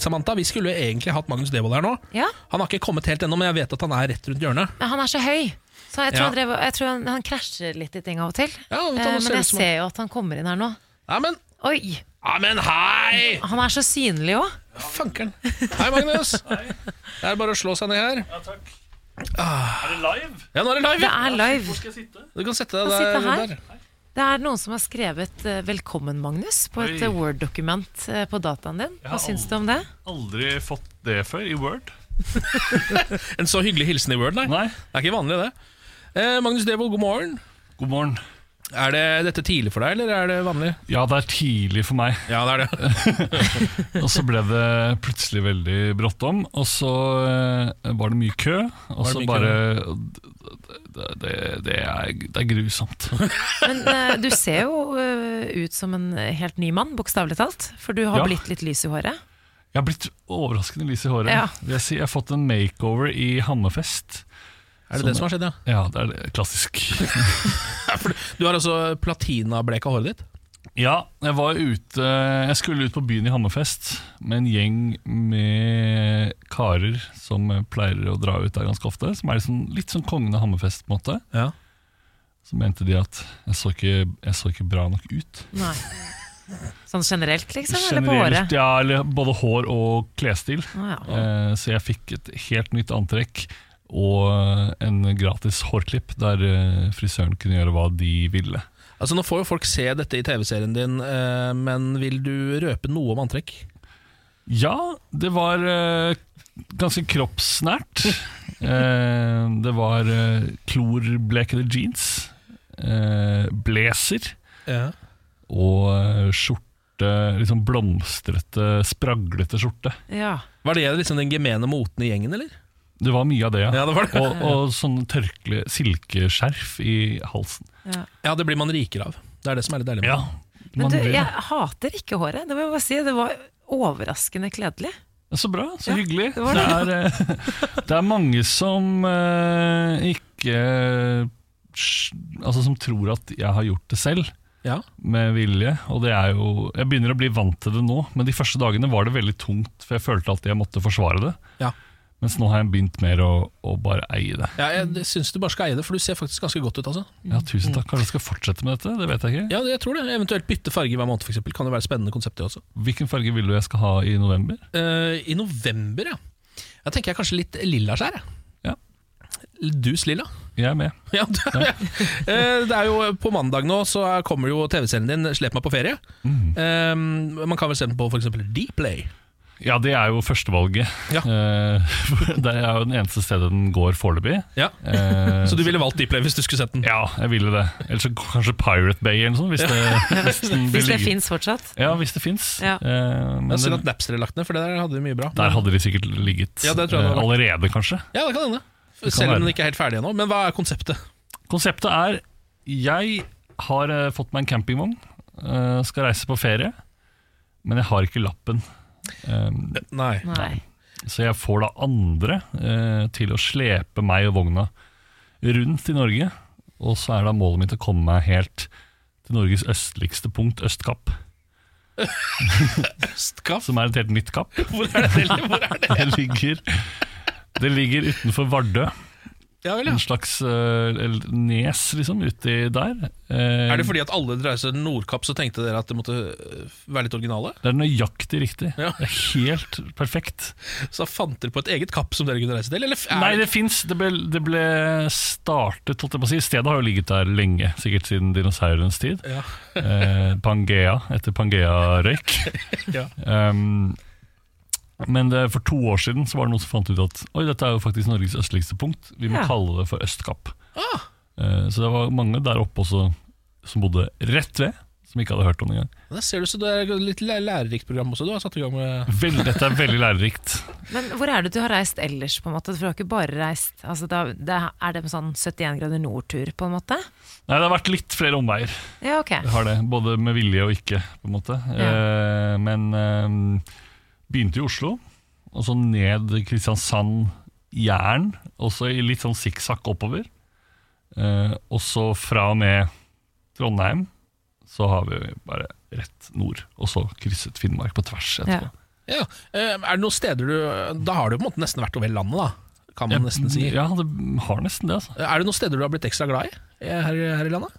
Samantha, vi skulle jo egentlig hatt Magnus Devold her nå. Ja. Han har ikke kommet helt ennå, men jeg vet at han er rett rundt hjørnet. Men han er så høy. Så jeg tror, Ja. han, drev, jeg tror han, han krasjer litt i ting av og til. Ja, vet du, Eh, han ser men ut jeg som- ser jo at han kommer inn her nå. Nei, men Oi! Ja, men hei! Han er så synlig òg. Fankeren. Hei, Magnus. Det er bare å slå seg ned her. Ah. Ja, takk. Er det live? Ja, nå er det live. Det er live. Hvor skal jeg sitte? Du kan sette deg Kan der. sitte her. der. Det er noen som har skrevet eh, 'Velkommen, Magnus' på et Oi. eh, Word-dokument eh, på dataen din. har Hva syns du om det? Aldri fått det før i Word. En så hyggelig hilsen i Word, nei. Nei. Det er ikke vanlig, det. Eh, Magnus Devold, god morgen. God morgen. Er det dette tidlig for deg, eller er det vanlig? Ja, det er tidlig for meg. Ja, det er det. Og så ble det plutselig veldig brått om, og så eh, var det mye kø. Og Var det så mye kø? bare det, det, det, er, det er grusomt. Men eh, du ser jo eh, ut som en eh, helt ny mann, bokstavelig talt. For du har Ja. blitt litt lys i håret. Jeg har blitt overraskende lys i håret. Ja. Vil jeg, si, jeg har fått en makeover i Hammerfest. Er det det som har skjedd, ja? Ja, det er det- klassisk. For du- du har altså platinableka håret ditt? Ja, jeg var ute Jeg skulle ut på byen i Hammerfest med en gjeng med karer som pleier å dra ut der ganske ofte. Som er liksom, litt sånn kongen av Hammerfest, på en måte. Ja. Så mente de at jeg så ikke, jeg så ikke bra nok ut. Nei. Sånn generelt, liksom? eller på håret? ja, eller både hår og klesstil. Å, ja. Eh, så jeg fikk et helt nytt antrekk og en gratis hårklipp der eh, frisøren kunne gjøre hva de ville. Altså, nå får jo folk se dette i TV-serien din, eh, men vil du røpe noe om antrekk? Ja, det var eh, ganske kroppsnært. Eh, det var eh, klorblekede jeans, eh, blazer Ja. og eh, skjorte Litt sånn blomstrete, spraglete skjorte. Ja. Var det liksom den gemene moten i gjengen, eller? Det var mye av det, ja. det var det. Og, og sånn tørkle, silkeskjerf i halsen. ja. Ja, det blir man rikere av. Det er det som er litt deilig. med det. Ja, Men man du, vil- jeg hater ikke håret. Det må jeg bare si. Det var overraskende kledelig. Så bra, så Ja, hyggelig. det Det, var det. er, eh, det er mange som eh, ikke Altså som tror at jeg har gjort det selv, med vilje. Og det er jo Jeg begynner å bli vant til det nå, men de første dagene var det veldig tungt, for jeg følte alltid jeg måtte forsvare det. Ja. Mens nå har jeg begynt mer å, å bare eie det. Ja, jeg syns du bare skal eie det, for du ser faktisk ganske godt ut. altså Ja, tusen takk. Kanskje jeg skal fortsette med dette? Det vet jeg ikke. Ja, jeg tror det. Eventuelt bytte farge hver måned, for eksempel. Kan jo være et spennende konsept, det også. Hvilken farge vil du jeg skal ha i november? Eh, I november, ja. Da tenker jeg kanskje litt lilla skjær. Ja. Dus lilla. Jeg er med. Ja, du er med. Eh, det er jo På mandag nå så kommer jo TV-serien din 'Slep meg på ferie'. Eh, man kan vel se den på f.eks. Dplay. Ja, det er jo førstevalget. Eh, det er jo den eneste stedet den går foreløpig. Ja. Eh, så du ville valgt Dplay hvis du skulle sett den? Ja, jeg ville det. Eller så kanskje Pirate Bay eller noe sånt. Hvis det, hvis den blir Hvis det ligget- fins fortsatt. Ja, hvis det fins. Ja. Det er Synd at Napster er lagt ned, for det der hadde de mye bra. Der hadde de sikkert ligget Ja, det tror jeg det hadde eh, vært. allerede, kanskje. Ja, det kan hende. Det kan Selv om være. den ikke er helt ferdig ennå. Men hva er konseptet? Konseptet er Jeg har eh, fått meg en campingvogn, eh, skal reise på ferie, men jeg har ikke lappen. Um, Nei. Nei. Så jeg får da andre eh, til å slepe meg og vogna rundt i Norge. Og så er da målet mitt å komme meg helt til Norges østligste punkt, Østkapp. Østkapp? Som er et helt nytt kapp. Hvor er det? Hvor er det? ligger, det ligger utenfor Vardø. Ja, vel, ja. En slags eh, eller nes, liksom, uti der. Eh, Er det fordi at alle dreier seg til Nordkapp, så tenkte dere at det måtte øh, være litt originale? Det er nøyaktig riktig. Ja. Det er helt perfekt. Så da fant dere på et eget kapp som dere kunne reise til? Eller f- er Nei, det fins. Det, ble- det ble startet, holdt jeg på å si. Stedet har jo ligget der lenge, sikkert siden dinosaurenes tid. Ja. eh, Pangea, etter Pangea-røyk. Ja. um, men det, for to år siden så var det noen som fant ut at Oi, dette er jo faktisk Norges østligste punkt. Vi må Ja. Ah. kalle det for Østkapp. Eh, så det var mange der oppe også som bodde rett ved, som ikke hadde hørt om det engang. Der ser du så det er et litt læ- lærerikt program også du har satt i gang med. Vel, dette er veldig lærerikt. Men hvor er det du har reist ellers, på en måte? For du har ikke bare reist altså, da, det, Er det en sånn 71 grader nord-tur, på en måte? Nei, det har vært litt flere omveier. Ja, ok. Det har det, Både med vilje og ikke, på en måte. Eh, men eh, begynte i Oslo, og så ned Kristiansand, Jæren. Og så i litt sånn sikksakk oppover. Eh, og så fra og med Trondheim så har vi bare rett nord, og så krysset Finnmark på tvers etterpå. Ja. Eh, Er det noen steder du Da har du på en måte nesten vært over hele landet, da. Kan man Ja, nesten si. Ja, det har nesten det, altså. Er det noen steder du har blitt ekstra glad i eh, her, her i landet?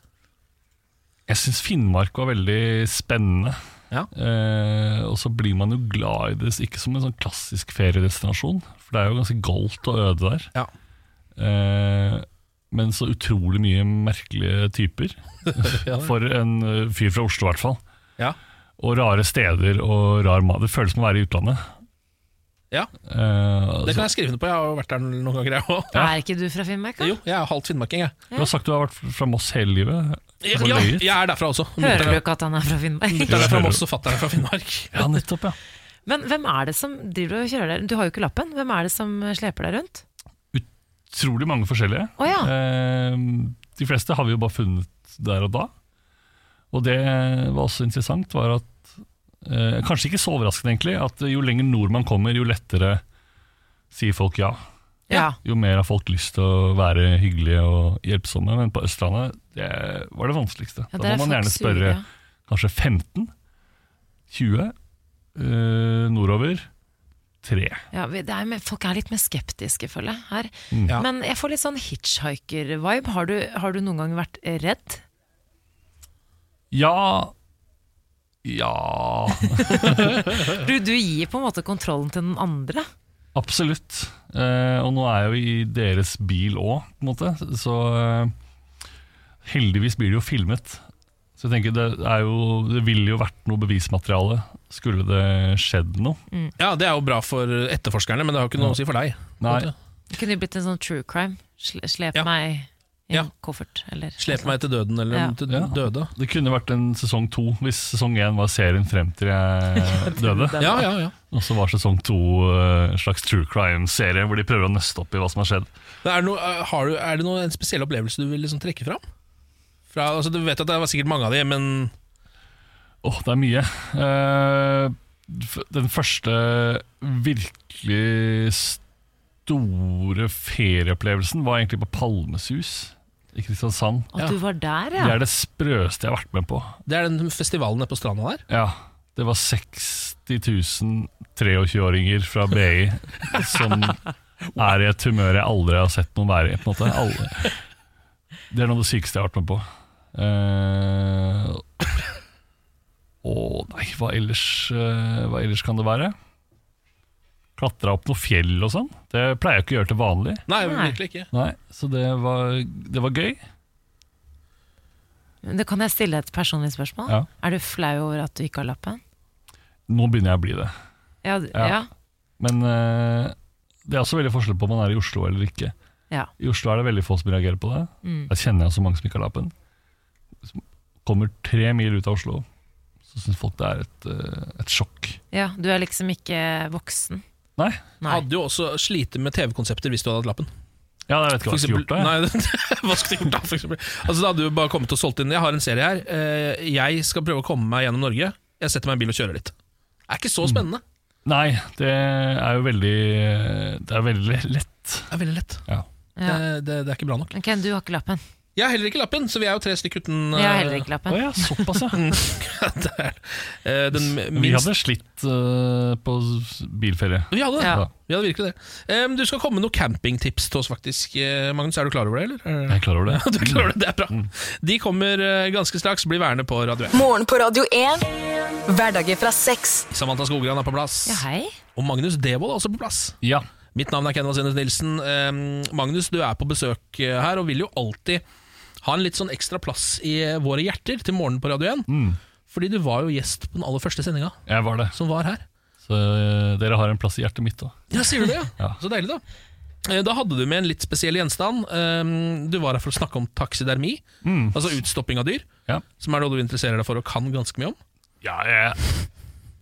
Jeg syns Finnmark var veldig spennende. Ja. Eh, og så blir man jo glad i det, ikke som en sånn klassisk feriedestinasjon, for det er jo ganske goldt og øde der. Eh, men så utrolig mye merkelige typer. Ja, det. for en eh, fyr fra Oslo, i hvert fall. Ja. Og rare steder og rar mat. Det føles som å være i utlandet. Ja, Eh, det så- kan jeg skrive under på. Jeg har jo vært der noen ganger, jeg òg. Er ikke du fra Finnmark? Jo, jeg er halvt finnmarking, jeg. Du har sagt du har vært fra Moss hele livet. Ja, Har du ja, løyet? jeg er derfra også. Hører du ikke at han er fra Finnmark? Mutter'n er fra Moss, og fatter'n er fra Finnmark. Ja, nettopp, ja. Men hvem er det som driver og kjører der? Du har jo ikke lappen. Hvem er det som sleper deg rundt? utrolig mange forskjellige. Å, ja. Eh, de fleste har vi jo bare funnet der og da. Og det var også interessant, var at eh, Kanskje ikke så overraskende, egentlig, at jo lenger nord man kommer, jo lettere sier folk ja. Ja. Jo mer har folk lyst til å være hyggelige og hjelpsomme, men på Østlandet det var det vanskeligste. Ja, der da er må folk man gjerne sure, spørre ja. kanskje 15, 20, eh, nordover 3. Ja, vi- det er, men folk er litt mer skeptiske, føler jeg. her Mm. Ja. Men jeg får litt sånn hitchhiker-vibe. Har, du- har du noen gang vært redd? Ja Ja Du, du gir på en måte kontrollen til den andre. Absolutt. Eh, og nå er jeg jo i deres bil òg, på en måte. Så eh, heldigvis blir det jo filmet. Så jeg tenker det, er jo, det ville jo vært noe bevismateriale skulle det skjedd noe. Ja, det er jo bra for etterforskerne, men det har jo ikke noe å si for deg. Nei. Det kunne jo blitt en sånn true crime. Sle, slep meg i en koffert, eller Slep meg til døden, eller Ja. til døde. Det kunne vært en sesong to, hvis sesong én var serien frem til jeg døde. Ja, ja, ja. Og så var sesong to eh, en slags true crime-serie hvor de prøver å nøste opp i hva som har skjedd. Men Er det, noe, har du, er det noe, en spesiell opplevelse du vil liksom trekke fram? Fra, altså, du vet at det var sikkert mange av de, men Åh, det er mye. Eh, f- den første virkelig store ferieopplevelsen var egentlig på Palmesus i Kristiansand. At du var der, ja. Det er det sprøeste jeg har vært med på. Det er den festivalen nede på stranda der? Ja, det var 60 000 23-åringer fra BI som er i et humør jeg aldri har sett noen være i. på en måte. Alle. Det er noe av det sykeste jeg har vært med på. Eh, Å nei, hva ellers, eh, hva ellers kan det være? Klatra opp noe fjell og sånn. Det pleier jeg ikke å gjøre til vanlig. Nei, virkelig ikke. Nei, Så det var, det var gøy. Men Det kan jeg stille et personlig spørsmål? Ja. Er du flau over at du ikke har lappen? Nå begynner jeg å bli det. Ja, d- Ja. ja. Men eh, det er også veldig forskjell på om man er i Oslo eller ikke. Ja. I Oslo er det veldig få som reagerer på det. Mm. Der kjenner jeg så mange som ikke har lappen. Som kommer tre mil ut av Oslo, så syns folk det er et, eh, et sjokk. ja. Du er liksom ikke voksen. Nei. Nei. Hadde jo også slitt med TV-konsepter hvis du hadde hatt lappen. Ja, jeg vet ikke hva jeg skulle gjort da. jeg. Nei, hva skulle jeg gjort da, for eksempel? Altså, da hadde du bare kommet og solgt inn Jeg har en serie her. eh, Jeg skal prøve å komme meg gjennom Norge. Jeg setter meg i en bil og kjører litt. Det er ikke Mm. så spennende. Nei, det er jo veldig Det er veldig lett. Det er veldig lett. Ja. Det, Ja. det, det er ikke bra nok. Ok, du har ikke lappen. Jeg har heller ikke lappen, så vi er jo tre stykker uten eh, Jeg har heller ikke Å lappen. ja, såpass, ja. det er, eh, Den Vi minst hadde slitt eh, på s- bilferie. Vi hadde det. Ja. Vi hadde virkelig det. Em, du skal komme med noen campingtips til oss, faktisk. Eh, Magnus, er du klar over det, eller? Jeg er klar over det. Mm. Du er klar over det, det er bra. De kommer eh, ganske straks. Bli værende på Radio 1. Morgen på Radio 1. Hverdager fra seks. Samantha Skogran er på plass. Ja, hei. Og Magnus Devold er også på plass. Ja. Mitt navn er Ken Vasenus Nilsen. Em, Magnus, du er på besøk eh, her, og vil jo alltid ha en litt sånn ekstra plass i våre hjerter til morgenen på Radio 1. Mm. Fordi du var jo gjest på den aller første sendinga Jeg var det. som var her. Så eh, dere har en plass i hjertet mitt òg. Ja, sier du det? Ja. Ja. Så deilig, da. Eh, Da hadde du med en litt spesiell gjenstand. Ehm, Du var her for å snakke om taksidermi, altså utstopping av dyr. Mm. Ja. Som er noe du interesserer deg for og kan ganske mye om. Ja, jeg,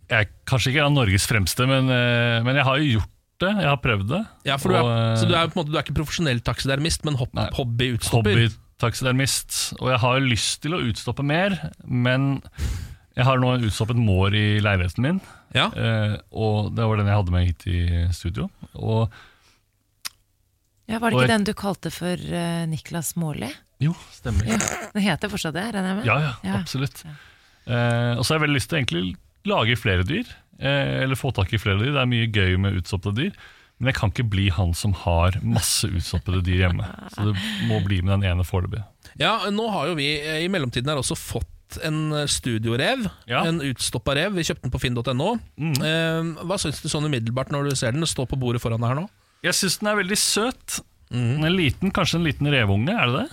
jeg kanskje ikke er Norges fremste, men, eh, men jeg har jo gjort det. Jeg har prøvd det. Ja, for du er, Og, eh, så du er, på en måte, du er ikke profesjonell taksidermist, men hopp, Nei. hobbyutstopper. hobbytaksidermist. Og jeg har jo lyst til å utstoppe mer, men jeg har nå utstoppet mår i leiligheten min. Ja. eh, Og det var den jeg hadde med hit i studio. Og Ja, var det Og ikke jeg- den du kalte for eh, Niklas Mårli? jo, stemmer. Ja. Den heter fortsatt det, regner jeg med? Ja, ja, absolutt. Eh, og så har jeg veldig lyst til å egentlig lage flere dyr. Eh, eller få tak i flere dyr. Det er mye gøy med utstoppede dyr. Men jeg kan ikke bli han som har masse utstoppede dyr hjemme. Så det må bli med den ene foreløpig. Ja, nå har jo vi eh, i mellomtiden her også fått en eh, studiorev. Ja. En Mm. utstoppa rev. Vi kjøpte den på finn.no. Ehm, Hva syns du sånn umiddelbart når du ser den stå på bordet foran deg her nå? Jeg syns den er veldig søt. En liten, kanskje en liten revunge, er det det?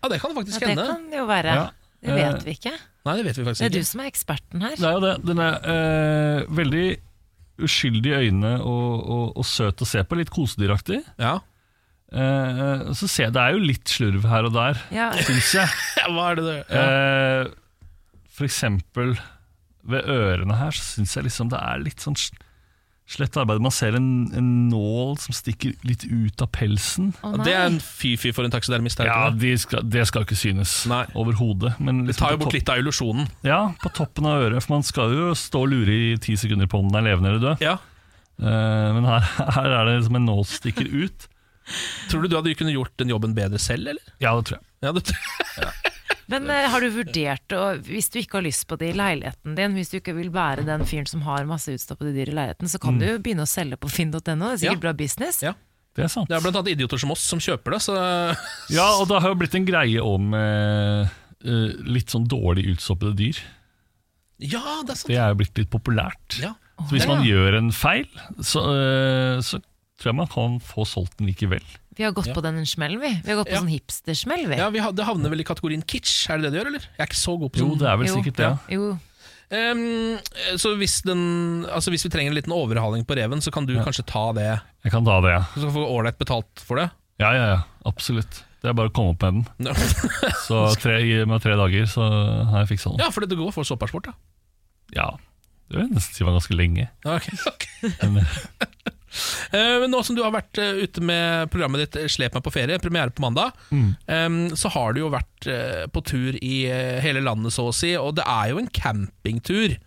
Ja, det kan det faktisk Ja, det hende. kan jo være. Ja. Det vet vi ikke. Nei, det vet vi faktisk Det er du Eh, ikke. som er eksperten her. Det er jo det. Den er eh, veldig uskyldig i øynene og, og, og søt å se på. Litt kosedyraktig. Ja. Eh, så ser jeg, det er jo litt slurv her og der, Ja, syns jeg. ja, hva er det du Eh, for eksempel ved ørene her, så syns jeg liksom det er litt sånn sl- slett arbeid. Man ser en, en nål som stikker litt ut av pelsen. å Ja, nei. Det er en fy-fy for en taksidermist. er det Ja, ikke det? de skal, Det skal ikke synes Nei. overhodet. men Det liksom tar jo på bort topp- litt av illusjonen. Ja, på toppen av øret. For man skal jo stå og lure i ti sekunder på om den er levende eller død. Ja. Eh, men her, her er det liksom en nål som stikker ut. Tror du du hadde kunnet gjort den jobben bedre selv, eller? Ja, det tror jeg. Ja, det, Men eh, har du vurdert å Hvis du ikke har lyst på det i leiligheten din, hvis du ikke vil være den fyren som har masse utstoppede dyr i leiligheten, så kan Mm. du jo begynne å selge på finn.no, det er sikkert bra business. Ja. Det er sant. det er blant annet idioter som oss som kjøper det, så Ja, og det har jo blitt en greie om eh, eh, litt sånn dårlig utstoppede dyr. Ja, det er sant. Det er jo blitt litt populært. Ja. Så hvis Ja. man gjør en feil, så, øh, så tror jeg man kan få solgt den likevel. Vi har gått på den smellen, vi. Vi har gått på Ja. sånn hipstersmell, vi. Ja, vi ha- Det havner vel i kategorien kitsch, er det det du gjør, eller? Jeg er ikke så god på Jo, sånn. det er vel Jo. sikkert det. Jo. Ehm, så hvis, den, altså hvis vi trenger en liten overhaling på reven, så kan du kanskje ta det? Jeg kan ta det, ja. Du skal få ålreit betalt for det? Ja, ja, ja. Absolutt. Det er bare å komme opp med den. Nå. Så tre, gi meg tre dager, så har jeg fiksa den. Ja, for det går for såpass fort, ja. Ja. Det vil jeg nesten si var ganske lenge. Ja, ok. Ok. Men, Eh, Men nå som du har vært eh, ute med programmet ditt eh, Slep meg på ferie, premiere på mandag, eh, så har du jo vært eh, på tur i eh, hele landet, så å si, og det er jo en campingtur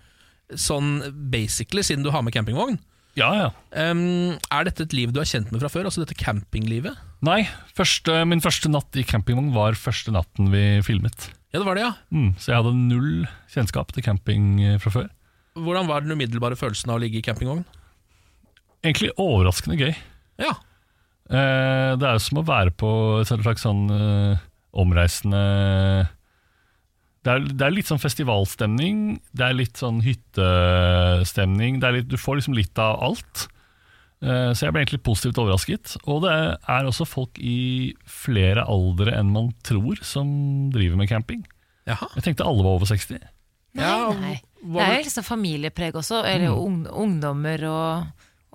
sånn basically siden du har med campingvogn. Um, er dette et liv du er kjent med fra før? Altså dette campinglivet? Nei, første, min første natt i campingvogn var første natten vi filmet. Ja, det var det, ja. Mm, så jeg hadde null kjennskap til camping eh, fra før. Hvordan var den umiddelbare følelsen av å ligge i campingvogn? Egentlig overraskende gøy. Ja. Eh, det er jo som å være på et slags sånn eh, omreisende det er, det er litt sånn festivalstemning, det er litt sånn hyttestemning. Det er litt, du får liksom litt av alt. Eh, Så jeg ble egentlig positivt overrasket. Og det er også folk i flere aldre enn man tror som driver med camping. Jeg tenkte alle var over 60. Nei, nei. hva Mm. Det er var- jo liksom familiepreg også, eller ung, ungdommer og,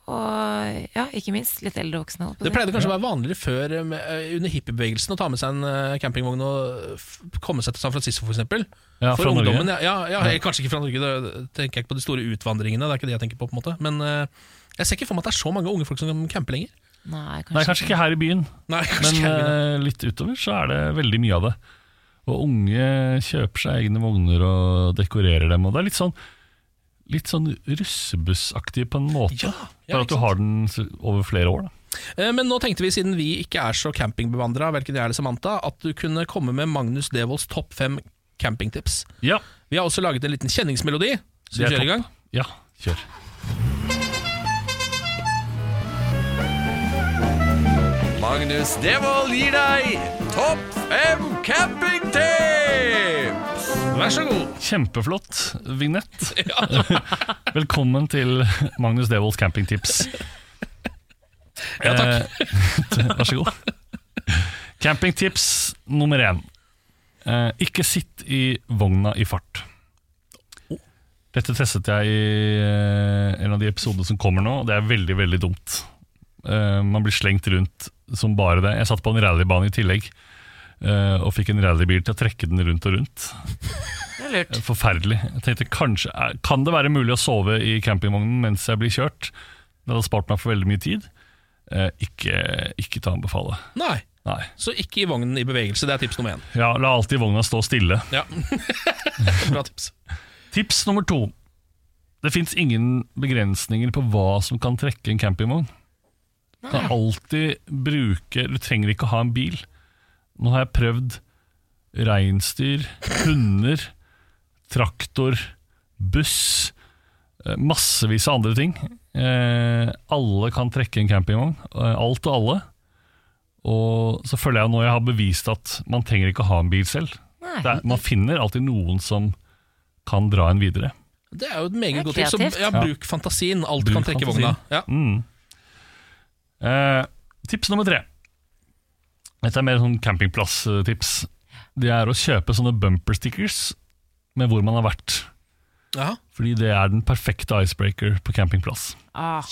og ja, ikke minst litt eldre voksne. holdt på å Det si. pleide kanskje å være vanligere før eh, med, eh, under hippiebevegelsen å ta med seg en eh, campingvogn og f- komme seg til San Francisco, f.eks. Ja, for fra Norge. ungdommen. Ja, ja, ja, Ja. Kanskje ikke fra Norge, da tenker jeg ikke på de store utvandringene. Det er ikke det jeg tenker på, på en måte Men eh, jeg ser ikke for meg at det er så mange unge folk som camper lenger. Nei, Nei, kanskje ikke her i byen, Nei, kanskje men ikke her i byen. eh, litt utover så er det veldig mye av det. Og unge kjøper seg egne vogner og dekorerer dem. Og det er litt sånn, litt sånn russebussaktig på en måte. ja, bare at ikke du har den s- over flere år. Da. Eh, Men nå tenkte vi, siden vi ikke er så campingbevandra, verken jeg eller Samantha, at du kunne komme med Magnus Devolds topp fem campingtips. Ja. Vi har også laget en liten kjenningsmelodi. Så vi Det er kjører i gang. topp. Ja, kjør. Magnus Devold gir deg topp fem campingtips! Vær så god. Kjempeflott vignett. Velkommen til Magnus Devolds campingtips. Ja, takk. Eh, Vær så god. Campingtips nummer én. Eh, ikke sitt i vogna i fart. Dette testet jeg i eh, en av de episodene som kommer nå, og det er veldig, veldig dumt. Eh, man blir slengt rundt som bare det. Jeg satt på en rallybane i tillegg, eh, og fikk en rallybil til å trekke den rundt og rundt. Det er lurt. Forferdelig. Jeg tenkte kanskje, er- Kan det være mulig å sove i campingvognen mens jeg blir kjørt? Det hadde spart meg for veldig mye tid. Eh, ikke, ikke til å anbefale. Nei. Nei. Så ikke i vognen i bevegelse. Det er tips nummer én. Ja, La alltid vogna stå stille. Ja. Bra tips. Tips nummer to. Det fins ingen begrensninger på hva som kan trekke en campingvogn. Du kan alltid bruke Du trenger ikke å ha en bil. Nå har jeg prøvd reinsdyr, hunder, traktor, buss eh, Massevis av andre ting. Eh, alle kan trekke en campingvogn. eh, Alt og alle. Og så føler jeg nå jeg har bevist at man trenger ikke å ha en bil selv. Nei. Det er, man finner alltid noen som kan dra en videre. Det er jo et meget Det er godt tips. Så, kreativt. ja, Ja. bruk fantasien. Alt Bruk kan trekke fantasien. vogna. Ja. Mm. Eh, tips nummer tre. Dette er mer sånn campingplass-tips. Det er å kjøpe sånne bumper stickers med hvor man har vært. Ja. Fordi det er den perfekte icebreaker på campingplass. Ah.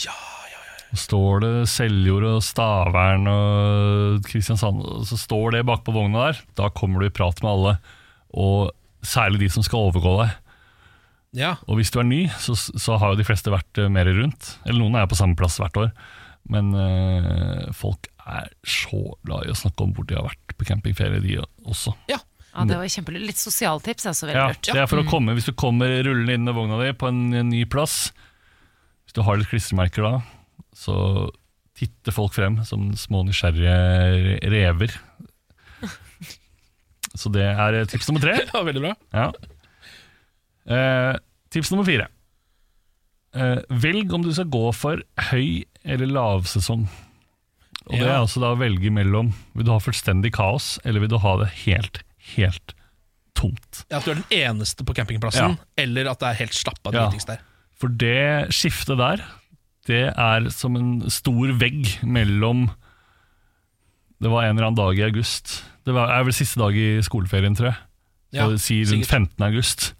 Står det Seljord og Stavern og Kristiansand, og så står det bakpå vogna der, da kommer du i prat med alle. Og særlig de som skal overgå deg. Ja. Og hvis du er ny, så, så har jo de fleste vært eh, mer rundt. Eller noen er jo på samme plass hvert år. Men eh, folk er så glad i å snakke om hvor de har vært på campingferie, de også. Ja, det var kjempelurt. Litt sosialtips er også veldig Ja, lurt. det er for å Mm. komme, Hvis du kommer rullende inn med vogna di på en, en ny plass, hvis du har litt klistremerker da, så titter folk frem som små nysgjerrige re- rever. Så det er eh, tips nummer tre. ja, veldig bra. Ja. Eh, tips nummer fire. Eh, velg om du skal gå for høy eller lavsesong. Og det Ja. er altså da å velge mellom Vil du ha fullstendig kaos, eller vil du ha det helt, helt tomt? Ja, At du er den eneste på campingplassen, eller at det er helt slappa Ja. dritings der. For det skiftet der, det er som en stor vegg mellom Det var en eller annen dag i august. Det var, er vel siste dag i skoleferien, tror jeg. Ja, Så Eh, si rundt sikkert. 15. august.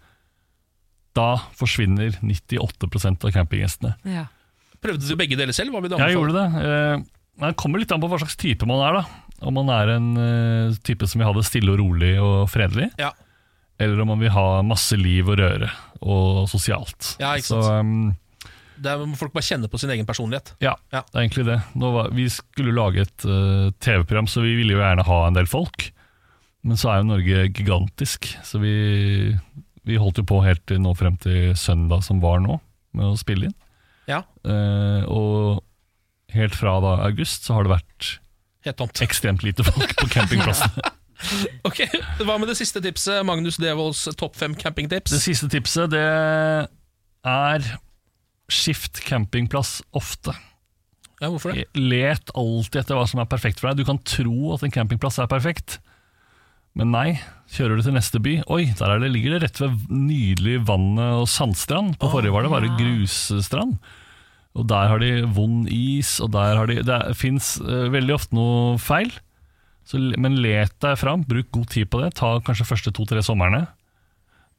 Da forsvinner 98 av campinggjestene. Ja. Prøvde du begge deler selv? Hva vil du Jeg anbefale? gjorde det. Eh, men Det kommer litt an på hva slags type man er. da Om man er en eh, type som vil ha det stille og rolig og fredelig, Ja. eller om man vil ha masse liv og røre og sosialt. Ja, ikke Så, ehm, Der må folk bare kjenne på sin egen personlighet. ja, det er egentlig det. Nå var, vi skulle lage et eh, TV-program, så vi ville jo gjerne ha en del folk. Men så er jo Norge gigantisk, så vi vi holdt jo på helt til nå frem til søndag som var nå, med å spille inn. Ja. Eh, og helt fra da august så har det vært Helt tomt. ekstremt lite folk på campingplassene. Ok, Hva med det siste tipset? Magnus Devolds topp fem campingtips? Det siste tipset det er skift campingplass ofte. Ja, hvorfor det? Let alltid etter hva som er perfekt for deg. Du kan tro at en campingplass er perfekt, men nei. Kjører du til neste by Oi, der er det, ligger det rett ved nydelig vannet og sandstrand. På forrige var det bare grusstrand. Og der har de vond is, og der har de Det fins veldig ofte noe feil. Så, l- men let deg fram, bruk god tid på det. Ta kanskje første to-tre somrene,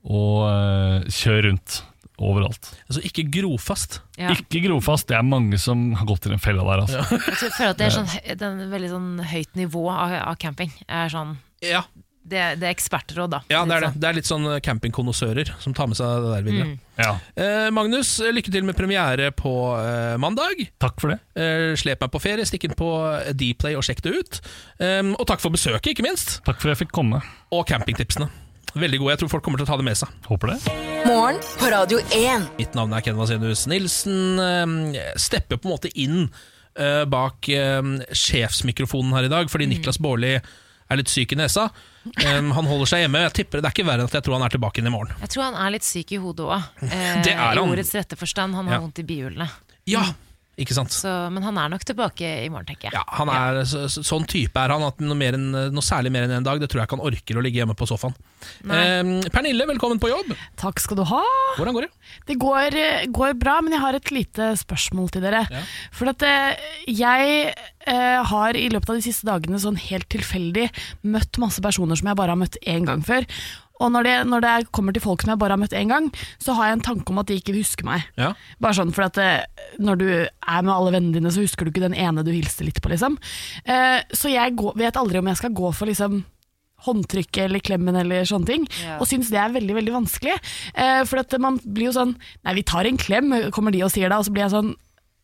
og eh, kjør rundt overalt. Altså, ikke grofast. Ja. Ikke grofast, det er mange som har gått i den fella der. altså Jeg føler at det er sånn, den veldig sånn høyt nivå av, av camping. Er sånn, Ja. det, det er ekspertråd, da. Ja, det er det. Det er litt sånn campingkonnoissører som tar med seg det der videre. Ja, Eh, Magnus, lykke til med premiere på eh, mandag. Takk for det. Eh, slep meg på ferie, stikk inn på eh, Dplay og sjekk det ut. Um, og takk for besøket, ikke minst. Takk for at jeg fikk komme. Og campingtipsene. Veldig gode. Jeg tror folk kommer til å ta det med seg. Håper det. Morgen på Radio 1. Mitt navn er Ken Vasenus Nilsen. Eh, Stepper på en måte inn eh, bak eh, sjefsmikrofonen her i dag, fordi Niklas Baarli er litt syk i nesa. Eh, Han holder seg hjemme. Jeg tipper Det er ikke verre enn at jeg tror han er tilbake inn i morgen. Jeg tror han er litt syk i hodet òg. Det er I han. ordets rette forstand. Han har Ja. vondt i bihulene. Ja, ikke sant? Så, men han er nok tilbake i morgen, tenker jeg. Ja, han er, så, så- sånn type er han at noe, mer enn, noe særlig mer enn en dag Det tror jeg ikke han orker å ligge hjemme på sofaen eh, Pernille, velkommen på jobb Takk skal du ha. Hvordan går det? Det går, eh, går bra, men jeg har et lite spørsmål til dere. For at eh, jeg eh, har i løpet av de siste dagene sånn helt tilfeldig møtt masse personer som jeg bare har møtt én gang før. Og når det, når det er- kommer til folk som jeg bare har møtt én gang, så har jeg en tanke om at de ikke husker meg. Ja. Bare sånn, for at eh, Når du er med alle vennene dine, så husker du ikke den ene du hilste litt på. liksom. Eh, så jeg går, vet aldri om jeg skal gå for liksom håndtrykket eller klemmen eller sånne ting, Ja. og syns det er veldig veldig vanskelig. Eh, for at man blir jo sånn Nei, vi tar en klem, kommer de og sier det, og så blir jeg sånn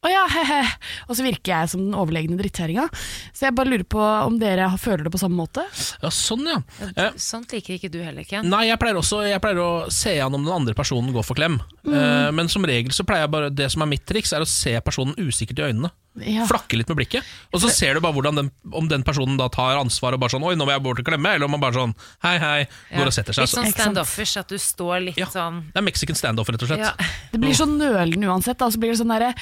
å ja, he-he. Og så virker jeg som den overlegne drittkjerringa. Så jeg bare lurer på om dere har- føler det på samme måte. Ja, sånn ja eh, Sånt liker ikke du heller, Ken. Nei, jeg pleier også Jeg pleier å se an om den andre personen går for klem Mm. eh, Men som regel så pleier jeg bare Det som er mitt triks er å se personen usikkert i øynene Ja. Flakke litt med blikket Og så ser du bare hvordan den, om den personen da tar ansvar Og bare sånn, oi nå må jeg bort og klemme Eller om man bare sånn, hei hei, går og setter seg altså. Litt sånn standoffers, at du står litt sånn Det er mexican standoff rett og slett Det blir så nølende uansett. Da. Så blir det sånn derre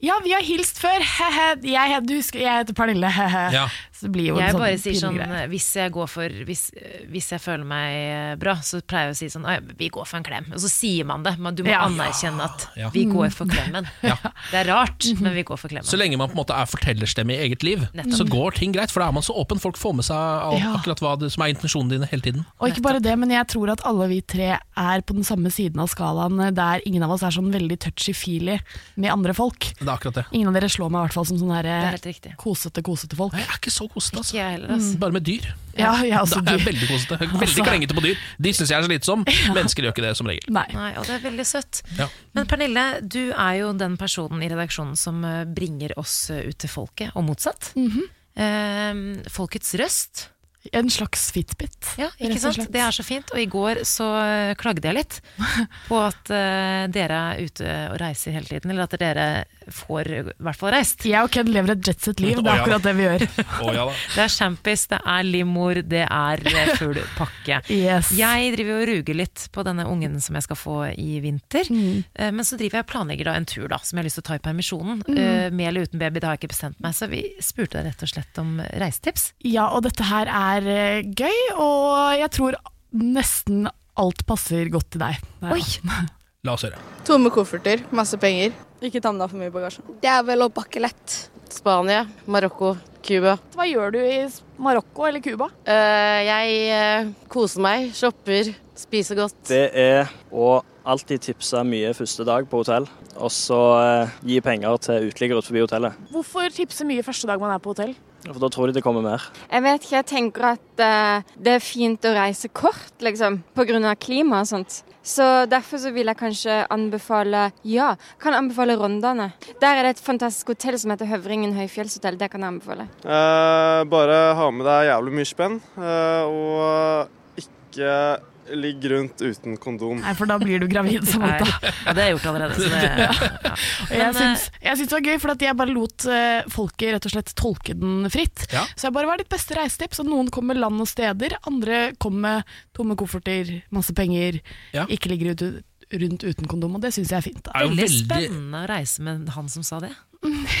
Ja, vi har hilst før! He-he. Jeg, het- du husker, jeg heter Pernille. He-he. Ja. Så det blir jo en jeg sånn bare sier sånn, pinlig greie. eh, hvis jeg, går for, hvis, eh, hvis jeg føler meg eh, bra, så pleier jeg å si sånn «Oi, Vi går for en klem. Og så sier man det, men du må Ja. anerkjenne at Ja. vi går for klemmen. Det er rart, men vi går for klemmen. Så lenge man på en måte er fortellerstemme i eget liv, Nettopp. så går ting greit. For da er man så åpen. Folk får med seg all, Ja. akkurat hva det, som er intensjonen dine hele tiden. Og ikke bare det, men jeg tror at alle vi tre er på den samme siden av skalaen, eh, der ingen av oss er sånn veldig touchy-feely med andre folk. Det er akkurat det. Ingen av dere slår meg i hvert fall som sånn her, eh, Det er helt riktig. kosete, kosete folk. Jeg er ikke så kosete, altså. Ikke jeg heller, altså. Bare med dyr. Ja, altså, jeg er også det er dyr. veldig kosete. Jeg er Veldig Altså. klengete på dyr. De syns jeg er slitsom. Mennesker gjør ikke det, som regel. Nei. og det er veldig søtt. Ja. Men Pernille, du er jo den personen i redaksjonen som eh, bringer oss eh, ut til folket, og motsatt. Eh, folkets røst. En slags fitbit. Ja, rett ikke og sant? slett. Det er så fint. Og i går så eh, klagde jeg litt på at eh, dere er ute og reiser hele tiden, eller at dere får eh, i hvert fall reist. Jeg og Ken lever et jetset-liv, det Å, ja. er akkurat det vi gjør. Det er champis, det er limoer, det er eh, full pakke. Yes. Jeg driver og ruger litt på denne ungen som jeg skal få i vinter. Mm. Eh, Men så driver jeg og planlegger da en tur da, som jeg har lyst til å ta i permisjonen. Mm. Eh, Med eller uten baby, det har jeg ikke bestemt meg. Så vi spurte deg rett og slett om reisetips. Ja, og dette her er eh, gøy, og jeg tror nesten alt passer godt til deg. altså. Oi! La oss høre. Tomme kofferter, masse penger. Ikke ta med deg for mye bagasje. Det er vel å bakke lett. Spania, Marokko, Cuba. Hva gjør du i Marokko eller Cuba? jeg koser meg, shopper, spiser godt. Det er å alltid tipse mye første dag på hotell, og så eh, gi penger til uteliggere utenfor hotellet. Hvorfor tipse mye første dag man er på hotell? For da tror de det kommer mer. Jeg vet ikke, jeg tenker at eh, det er fint å reise kort, liksom, pga. klima og sånt. Så derfor så vil jeg kanskje anbefale Ja, kan anbefale Rondane. Der er det et fantastisk hotell som heter Høvringen høyfjellshotell. Det kan jeg anbefale. Eh, bare ha med deg jævlig mye spenn, eh, og ikke Ligg rundt uten kondom. Nei, for da blir du gravid, Samantha. Ja, det har jeg gjort allerede. Så det, ja. eh, Og jeg syns, jeg syns det var gøy, for at jeg bare lot eh, folket rett og slett tolke den fritt. Ja. Så jeg bare var ditt beste reisetips, og noen kom med land og steder, andre kom med tomme kofferter, masse penger, Ja. ikke ligger ut, rundt uten kondom, og det syns jeg er fint. da. Veldig, spennende å reise med han som sa det.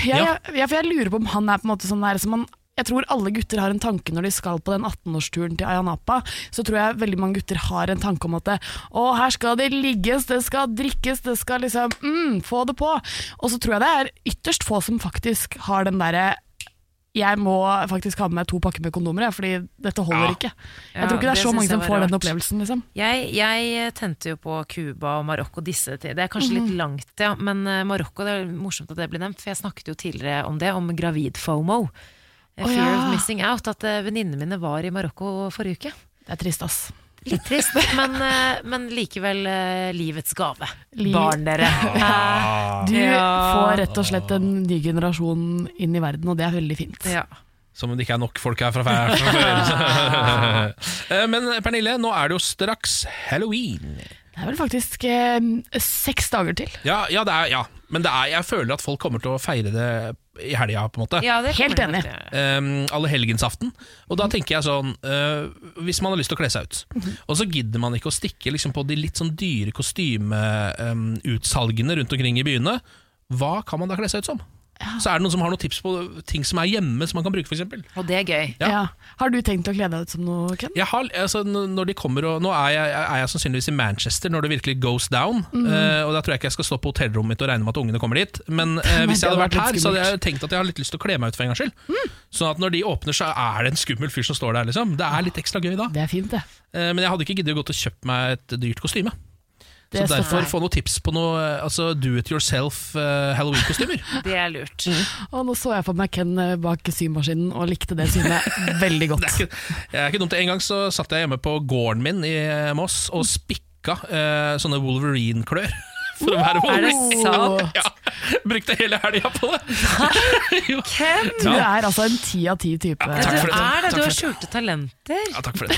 Ja, ja. ja, for jeg lurer på om han er på en måte sånn der som han jeg tror alle gutter har en tanke når de skal på den 18-årsturen til Ayanapa. Så tror jeg veldig mange gutter har en tanke om at det, å, her skal det ligges, det skal drikkes, det skal liksom mm, få det på. Og så tror jeg det er ytterst få som faktisk har den derre jeg må faktisk ha med meg to pakker med kondomer, jeg, fordi dette holder Ja. ikke. Jeg Ja, tror ikke det det er så synes mange jeg som var får den rart. opplevelsen. Liksom. Jeg, jeg eh, tente jo på Cuba og Marokko disse til. Det er kanskje Mhm. litt langt, ja, men eh, Marokko det er morsomt at det ble nevnt, for jeg snakket jo tidligere om det, om gravid FOMO. Eh, Å, Fear ja. of missing out. At eh, venninnene mine var i Marokko forrige uke. Det er trist, ass. Litt trist, men, eh, men likevel eh, livets gave. Liv- Barn, dere. Hæ? Du Ja. får rett og slett en ny generasjon inn i verden, og det er veldig fint. Som om det ikke er nok folk her fra før. fra før. så. Eh, Men Pernille, nå er det jo straks halloween. Det er vel faktisk eh, seks dager til. Ja, ja, det er, ja. men det er, jeg føler at folk kommer til å feire det i helga, på en måte. Ja, det kommer Helt de enig. nok Um, alle helgensaften. Og da tenker jeg sånn eh, Hvis man har lyst til å kle seg ut, og så gidder man ikke å stikke liksom, på de litt sånn dyre kostymeutsalgene rundt omkring i byene, hva kan man da kle seg ut som? Så er det noen som har noen tips på ting som er hjemme, som man kan bruke, f.eks. Og det er gøy. Ja. Ja. Har du tenkt å kle deg ut som noe, Ken? Jeg har, altså, n- når de kommer og, Nå er jeg, er jeg sannsynligvis i Manchester når det virkelig goes down. Mhm. eh, og Da tror jeg ikke jeg skal stå på hotellrommet mitt og regne med at ungene kommer dit. Men eh, Nei, hvis det jeg hadde hadde vært vært her, litt så Mm. hadde jeg tenkt at jeg har litt lyst til å kle meg ut for en gangs skyld. Sånn at når de åpner, så er det en skummel fyr som står der, liksom. Det er litt ekstra gøy da. Det er fint, det. Eh, men jeg hadde ikke giddet å gå til å kjøpe meg et dyrt kostyme. Det Så står derfor jeg. få noen tips på noe eh, altså, do it yourself eh, halloween-kostymer. Det er lurt. Og nå så jeg for meg Ken eh, bak symaskinen og likte det synet veldig godt. Det er ikke, det er ikke dumt. En gang så satt jeg hjemme på gården min i eh, Moss og spikka eh, sånne Wolverine-klør. For å være Wow! Er det Wolverine. sant? Ja, brukte hele helga på det. Ken! Du Ja. er altså en ti av ti type. Ja, du er det, du har skjulte talenter. Ja, takk for det.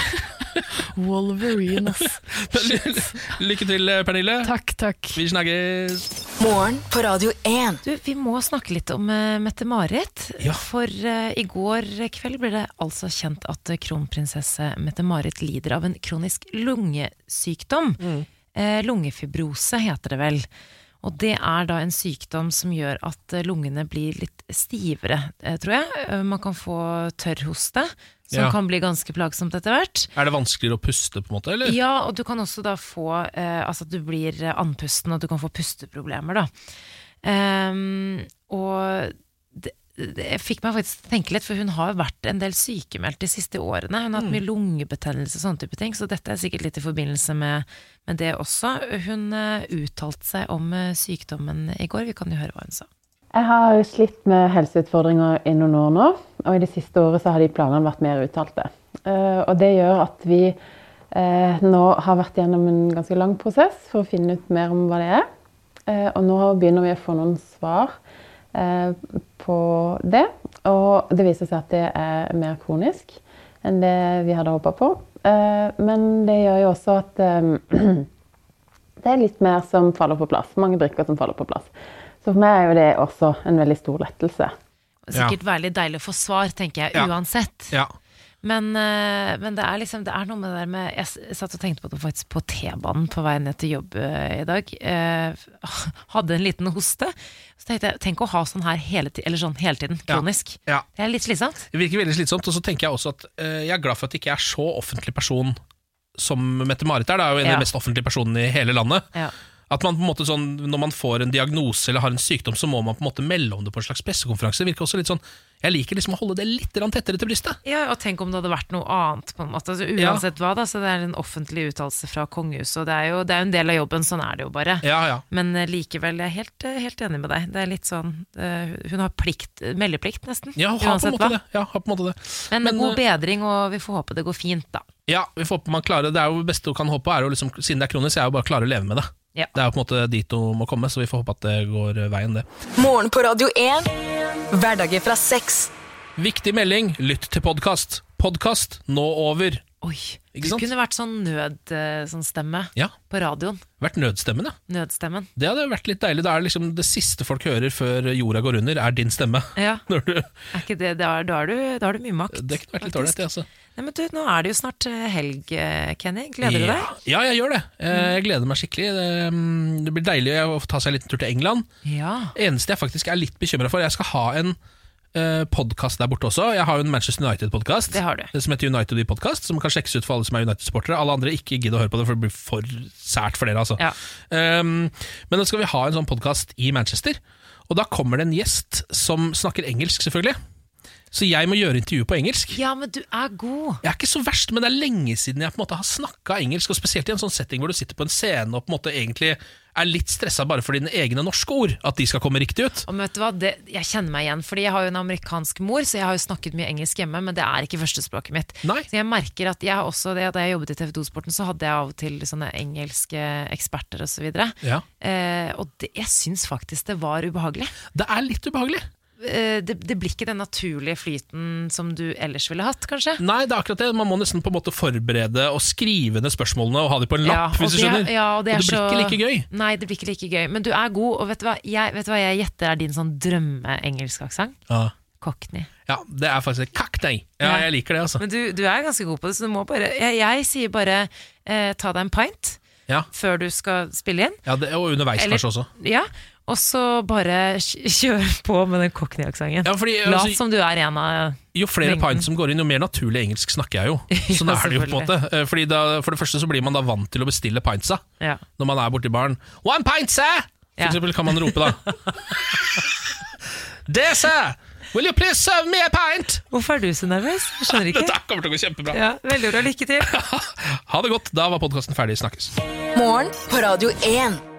Wolverine, ass. Lykke til, eh, Pernille. Takk, takk. Vi snakkes. Morgen på Radio 1. Du, vi må snakke litt om eh, Mette-Marit. For eh, i går kveld ble det altså kjent at eh, kronprinsesse Mette-Marit lider av en kronisk lungesykdom. Mm. Eh, lungefibrose heter det vel. Og det er da en sykdom som gjør at eh, lungene blir litt stivere, eh, tror jeg. Eh, Man kan få tørrhoste, som Ja. kan bli ganske plagsomt etter hvert. Er det vanskeligere å puste, på en måte? eller? Ja, og du kan også da få eh, Altså at du blir eh, andpusten, og du kan få pusteproblemer, da. Ehm, og det, det fikk meg faktisk til å tenke litt, for hun har vært en del sykemeldt de siste årene. Hun har hatt Mm. mye lungebetennelse og sånne type ting, så dette er sikkert litt i forbindelse med, med det også. Hun eh, uttalte seg om eh, sykdommen i går, vi kan jo høre hva hun sa. Jeg har jo slitt med helseutfordringer i noen år nå, og i det siste året så har de planene vært mer uttalte. Eh, Og det gjør at vi eh, nå har vært gjennom en ganske lang prosess for å finne ut mer om hva det er. Eh, Og nå begynner vi å få noen svar eh, på det. Og det viser seg at det er mer kronisk enn det vi hadde håpa på. Eh, Men det gjør jo også at eh, det er litt mer som faller på plass. Mange brikker som faller på plass. Så for meg er jo det også en veldig stor lettelse. Sikkert veldig deilig å få svar, tenker jeg, Ja. uansett. Ja. Men, eh, men det er liksom Det er noe med det der med Jeg s- satt og tenkte på det faktisk på T-banen på vei ned til jobb eh, i dag. Eh, hadde en liten hoste. Så tenkte jeg tenk å ha sånn her hele, ti- eller sånn hele tiden, Ja. kronisk. Ja. Det er litt slitsomt. Det virker veldig slitsomt, og så tenker jeg også at eh, jeg er glad for at jeg ikke er så offentlig person som Mette-Marit er. Det er jo en av Ja. de mest offentlige personene i hele landet. Ja. At man på en måte sånn, Når man får en diagnose eller har en sykdom, så må man på en måte melde om det på en slags pressekonferanse. Det virker også litt sånn, Jeg liker liksom å holde det litt grann tettere til brystet. Ja, og tenk om det hadde vært noe annet, på en måte. Altså, Ja. uansett hva, da. Så det er en offentlig uttalelse fra kongehuset, og det er jo det er jo en del av jobben. Sånn er det jo bare. Ja, ja. Men eh, likevel, jeg er helt, eh, helt enig med deg. Det er litt sånn eh, Hun har plikt, meldeplikt, nesten. Ja, har på en måte det. Ja, har på en måte det. Men, Men, god eh, bedring, og vi får håpe det går fint, da. Ja, vi får håpe man klarer Det Det er jo det beste du kan håpe, er jo liksom, siden det er kronisk, er jo bare å klare å leve med det. Ja. Det er jo på en måte dit hun må komme, så vi får håpe at det går eh, veien, det. Morgen på Radio 1. Hverdager fra seks. Viktig melding, lytt til podkast. Podkast nå over. Oi. Du kunne vært sånn nødstemme sånn stemme Ja. på radioen. Vært nødstemmen, ja. Nødstemmen. Det hadde vært litt deilig. Det er liksom det siste folk hører før jorda går under, er din stemme. Ja. Når du, Er ikke det, da, er, da, er du, da har du mye makt. det kunne vært litt ålreit, det, altså. Nei, men du, nå er det jo snart eh, helg, eh, Kenny. Gleder du deg? Ja, jeg gjør det. Eh, Jeg gleder meg skikkelig. Det, mm, det blir deilig å ta seg en liten tur til England. Ja. Eneste jeg faktisk er litt bekymra for, jeg skal ha en eh, podkast der borte også. Jeg har jo en Manchester United-podkast som heter United i podcast, som kan sjekkes ut for alle som er United-supportere. Alle andre ikke gidder å høre på det, for det blir for sært for dere. Altså. Um, men nå skal vi ha en sånn podkast i Manchester, og da kommer det en gjest som snakker engelsk, selvfølgelig. Så jeg må gjøre intervjuet på engelsk. Ja, men du er god. Jeg er ikke så verst, men det er lenge siden jeg på en måte har snakka engelsk, og spesielt i en sånn setting hvor du sitter på en scene og på en måte egentlig er litt stressa bare for dine egne norske ord, at de skal komme riktig ut. Og vet du hva, det, Jeg kjenner meg igjen, Fordi jeg har jo en amerikansk mor, så jeg har jo snakket mye engelsk hjemme, men det er ikke førstespråket mitt. Så jeg merker at jeg har også, det- Da jeg jobbet i TV 2-sporten, så hadde jeg av og til sånne engelske eksperter osv. Ja. Eh, og det, jeg syns faktisk det var ubehagelig. Det er litt ubehagelig. Eh, det, det blir ikke den naturlige flyten som du ellers ville hatt, kanskje. Nei, det er akkurat det. Man må nesten på en måte forberede og skrive ned spørsmålene og ha dem på en Ja, lapp, og hvis du det- skjønner. Ja, og det, er blir så... ikke like gøy. Nei, det blir ikke like gøy. Men du er god, og vet du hva jeg, vet du hva jeg gjetter er din sånn drømme-engelskaksent? Ja. Cockney. ja, det er faktisk et kaknei. Ja, Ja. jeg liker det, altså. Men du, du er ganske god på det, så du må bare Jeg, jeg sier bare eh, ta deg en pint Ja. før du skal spille inn. Ja, det, og underveis Eller- kanskje også. Ja, og så bare kj- kjør på med den Cockney-aksenten. Ja, fordi, Lat altså- som du er en av Jo flere Mengden. pints som går inn, jo mer naturlig engelsk snakker jeg jo. Sånn Ja, er det jo på en måte. selvfølgelig. Eh, Fordi da, for det første så blir man da vant til å bestille pintsa Ja. når man er borti baren. One pint, sir! For Ja. eksempel kan man rope da. There, sir! Will you please serve me a pint? Hvorfor er du så nervøs? Jeg skjønner ikke. Dette kommer til å gå kjempebra. Ja, veldig bra. Lykke til. Ha det godt. Da var podkasten ferdig. Snakkes. Morgen på Radio 1.